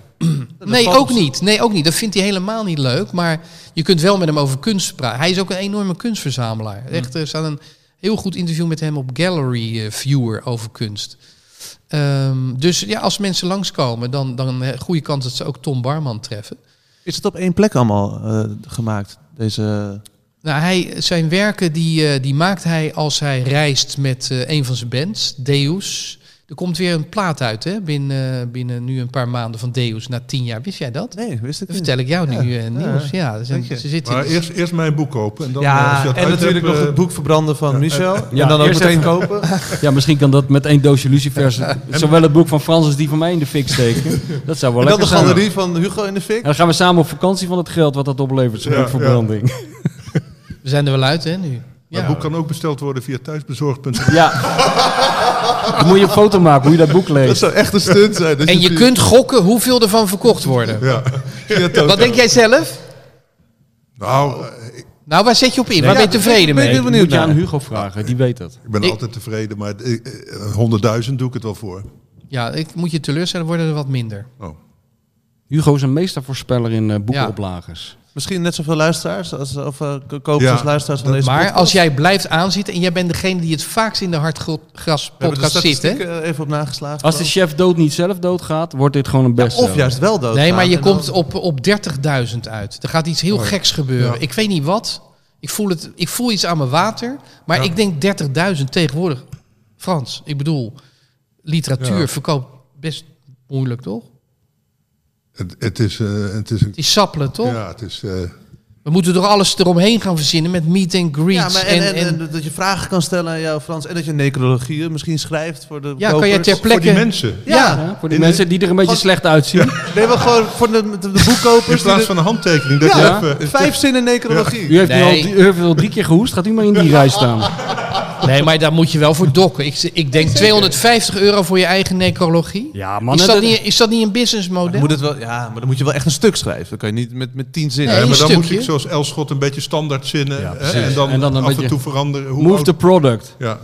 D: Nee,
C: valt-
D: ook niet. Nee, ook niet. Dat vindt hij helemaal niet leuk. Maar je kunt wel met hem over kunst praten. Hij is ook een enorme kunstverzamelaar. Echt, er staat een heel goed interview met hem op Gallery eh, Viewer over kunst. Ehm, dus ja, als mensen langskomen, dan, dan eh, goede kans dat ze ook Tom Barman treffen.
C: Is het op één plek allemaal eh, gemaakt? Deze...
D: Nou, hij, zijn werken die, eh, die maakt hij als hij reist met eh, een van zijn bands, Deus. Er komt weer een plaat uit hè, binnen, eh, binnen nu een paar maanden van Deus na tien jaar. Wist jij dat?
C: Nee, wist ik
D: Dat
C: niet.
D: vertel ik jou
C: Ja,
D: nu eh,
C: ja.
D: nieuws. Ja, ze, zijn-
C: Dank je.
D: ze zitten
F: Maar eerst, eerst mijn boek kopen. En dan, eh, als
C: Ja,
F: je dat
C: en
F: uit hebt,
C: natuurlijk nog
F: eh,
C: het boek verbranden van Michel.
B: Ja,
C: en dan ook
B: eerst
C: meteen
B: even-
C: kopen.
B: Ja, misschien kan dat met één doosje lucifers zowel het boek van Frans als die van mij in de fik steken. Dat zou wel
C: En dan de
B: lekker zijn.
C: galerie van Hugo in de fik.
B: En dan gaan we samen op vakantie van het geld wat dat oplevert, zo'n
F: Ja,
B: verbranding.
D: We zijn er wel uit, hè, nu?
F: Maar
D: Ja,
F: het boek kan ook besteld worden via thuisbezorgd.nl.
B: Ja. Dan moet je een foto maken hoe je dat boek
C: Dat
B: leest.
C: zou echt een stunt zijn. dat
D: En je
C: via-
D: kunt gokken hoeveel ervan verkocht worden.
F: Ja. Ja, toch.
D: Wat denk jij zelf?
F: Nou, eh, ik
D: Nou, waar zet je op in? Waar
C: Ja,
D: ben je tevreden
C: ben ik
D: mee?
C: heel
B: Moet
C: benieuwd
B: je aan
C: naar.
B: Hugo vragen, die weet dat.
F: ik ben
D: Ik-
F: altijd tevreden, maar eh, eh, 100.000 doe ik het wel voor.
D: Ja, ik moet je teleurstellen, worden er wat minder.
F: Oh.
B: Hugo is een meestervoorspeller in eh, boekenoplagers.
C: Misschien net zoveel luisteraars als, of eh, k- kopers
F: Ja,
C: als luisteraars van deze
D: Maar
C: podcast.
D: als jij blijft aanzitten en jij bent degene die het vaakst in de hartgras
C: We hebben de
D: podcast zit, hè?
C: statistieken, eh, even op nageslagen.
B: Als de chef dood niet zelf doodgaat, wordt dit gewoon een
C: Ja,
B: bestseller.
C: of juist wel dood.
D: Nee, maar je
C: En dan-
D: komt op, op 30.000 uit. Er gaat iets heel geks gebeuren.
F: Ja.
D: Ik weet niet wat. Ik voel, het, ik voel iets aan mijn water. Maar ik denk 30.000 tegenwoordig. Frans, ik bedoel, literatuur
F: Ja.
D: verkoopt best moeilijk, toch?
F: Het, het, is, eh, het is een...
D: Het is sappelen, toch?
F: Ja, het is... eh,
D: We moeten toch alles eromheen gaan verzinnen met meet and
C: Ja,
D: greets.
C: maar en, en, en dat je vragen kan stellen aan jou, Frans. En dat je necrologieën misschien schrijft voor de
D: ja, kan
C: kopers.
D: jij ter
F: voor
D: plekke...
F: die mensen.
C: Ja,
B: Ja, voor die
F: In de-
B: mensen die er een beetje
C: Als-
B: slecht uitzien.
C: nee, maar gewoon voor de, de, de
F: In
C: boekkopers. die
F: plaats
C: de-
F: van een handtekening. Dat
C: Ja.
F: je even,
C: Vijf zinnen necrologie.
B: U heeft, nu al,
D: Nee.
B: u heeft al drie keer gehoest, gaat u maar in die rij staan.
D: Nee, maar daar moet je wel voor dokken. Ik, ik denk 250 euro voor je eigen necrologie.
B: Ja,
D: is,
B: mannen,
D: dat
B: dat-
D: niet, is dat niet een businessmodel?
C: Moet het wel, ja, maar dan moet je wel echt een stuk schrijven. Dan kan je niet met, met tien zinnen.
D: Nee,
F: Ja, maar dan moet
D: stukje.
F: ik zoals Elschot een beetje standaard zinnen.
B: Ja,
F: hè,
B: precies.
F: en, dan
B: En dan een
F: af
B: beetje-
F: en toe veranderen. Hoe
B: Move
F: oud-
B: the product,
F: Ja.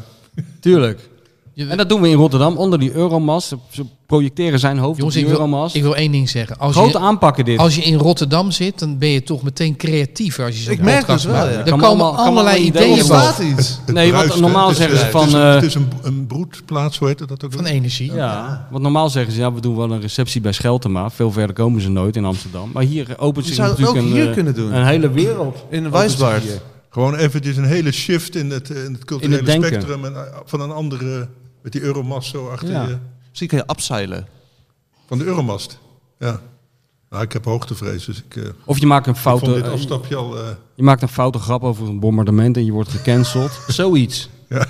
B: tuurlijk.
D: Je-
B: En dat doen we in Rotterdam, onder die Euromas. Ze- Ze projecteren zijn hoofd
D: Jongens,
B: op
D: ik
B: die
D: wil,
B: Euromas.
D: ik wil één ding zeggen. Als
B: Grote
D: je,
B: aanpakken dit.
D: als je in Rotterdam zit, dan ben je toch meteen creatiever als je zo'n
C: Ik merk
D: podcast
C: dus wel,
D: maakt.
C: ja.
D: Er
B: Kan
D: komen
B: allemaal- kan
D: allerlei
B: allemaal ideeën
C: Er
D: ideeën
C: ontstaat
D: boven.
C: iets.
F: Het
B: Nee, want
F: bruist, hè.
B: normaal
F: Het is,
B: zeggen ze
F: eh,
B: van,
F: Het is,
B: eh,
F: een, het is een, een broedplaats, hoe heet dat dat ook?
D: van energie.
B: Ja, want normaal zeggen ze, ja, we doen wel een receptie bij Scheltema. Veel verder komen ze nooit in Amsterdam. Maar hier eh, opent zich
C: Je zou het
B: natuurlijk
C: ook
B: een,
C: hier
B: eh,
C: kunnen doen.
B: een hele wereld.
C: In Wijsbaard.
F: Gewoon eventjes een hele shift in het, eh, in het culturele
B: In het denken.
F: spectrum. En, eh, van een andere, met die Euromast zo achter
B: Ja.
F: je.
C: Misschien kan je upseilen.
F: Van de Euromast. Ja. Nou, ik heb hoogtevrees, dus ik, eh, ik
B: Of je maakt een foute,
F: vond dit
B: eh,
F: afstapje al... eh,
B: je maakt een foute grap over een bombardement en je wordt gecanceld. Zoiets.
F: Ja.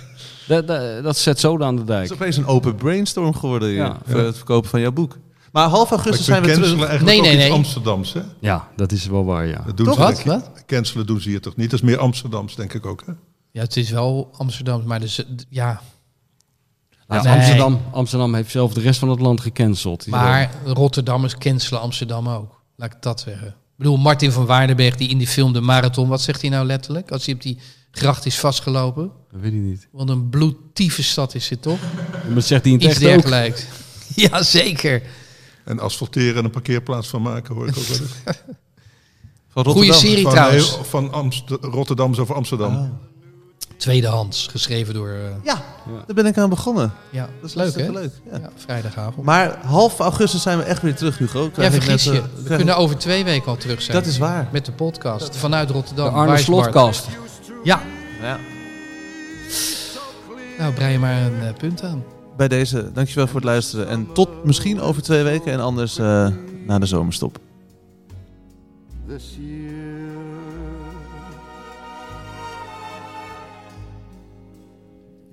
B: Dat, dat, dat zet zoden aan de
C: Het is
B: dijk.
C: opeens een open brainstorm geworden hier,
B: Ja.
C: voor het verkopen van jouw boek. Maar half
F: maar
C: augustus
F: ik
C: zijn
F: vind
C: we
F: cancelen
C: terug.
F: eigenlijk
D: Nee,
F: ook
D: nee,
F: iets
D: nee.
F: Amsterdams, hè?
B: Ja, dat is wel waar, ja.
F: Dat doen
D: Toch?
F: ze
D: Wat?
F: denk ik.
D: Wat?
F: Cancelen doen ze hier toch niet? Dat is meer Amsterdams, denk ik ook, hè?
D: Ja, het is wel Amsterdam, maar dus, eh, d- ja.
B: Ja,
D: Nee.
B: Amsterdam, Amsterdam heeft zelf de rest van het land gecanceld.
D: Maar Rotterdammers cancelen Amsterdam ook. Laat ik dat zeggen. Ik bedoel, Martin van Waardenberg die in die film De Marathon, wat zegt hij nou letterlijk? Als hij op die gracht is vastgelopen.
B: Dat weet ik niet.
D: Want een bloedtieve stad is dit toch?
B: Maar dat zegt hij in het
D: Iets
B: echt ook.
D: dergelijks. Jazeker.
F: En asfalteren en een parkeerplaats van maken, hoor ik ook wel eens.
C: Van
D: Goede
C: Rotterdam.
D: serie
F: van,
D: trouwens. Ah.
F: nee, van Amst Rotterdams over Amsterdam.
D: Tweedehands, geschreven door... eh,
C: Ja, daar ben ik aan begonnen.
D: ja, dat
C: Dat is
D: is leuk hè?
C: hartstikke leuk. Ja.
D: Ja, vrijdagavond.
C: Maar half augustus zijn we echt weer terug, Hugo.
D: ja,
C: Krijg ik
D: vergis
C: net,
D: je.
C: eh,
D: We
C: krijg-
D: kunnen over twee weken al terug zijn.
C: Dat is waar.
D: Met de podcast vanuit Rotterdam.
B: De Arne
D: Waar is Bart?
B: Slotkast.
D: Ja.
C: Ja.
D: Nou, brei je maar een eh, punt aan.
C: Bij deze, dankjewel voor het luisteren. En tot misschien over twee weken en anders eh, na de zomerstop.
E: this year.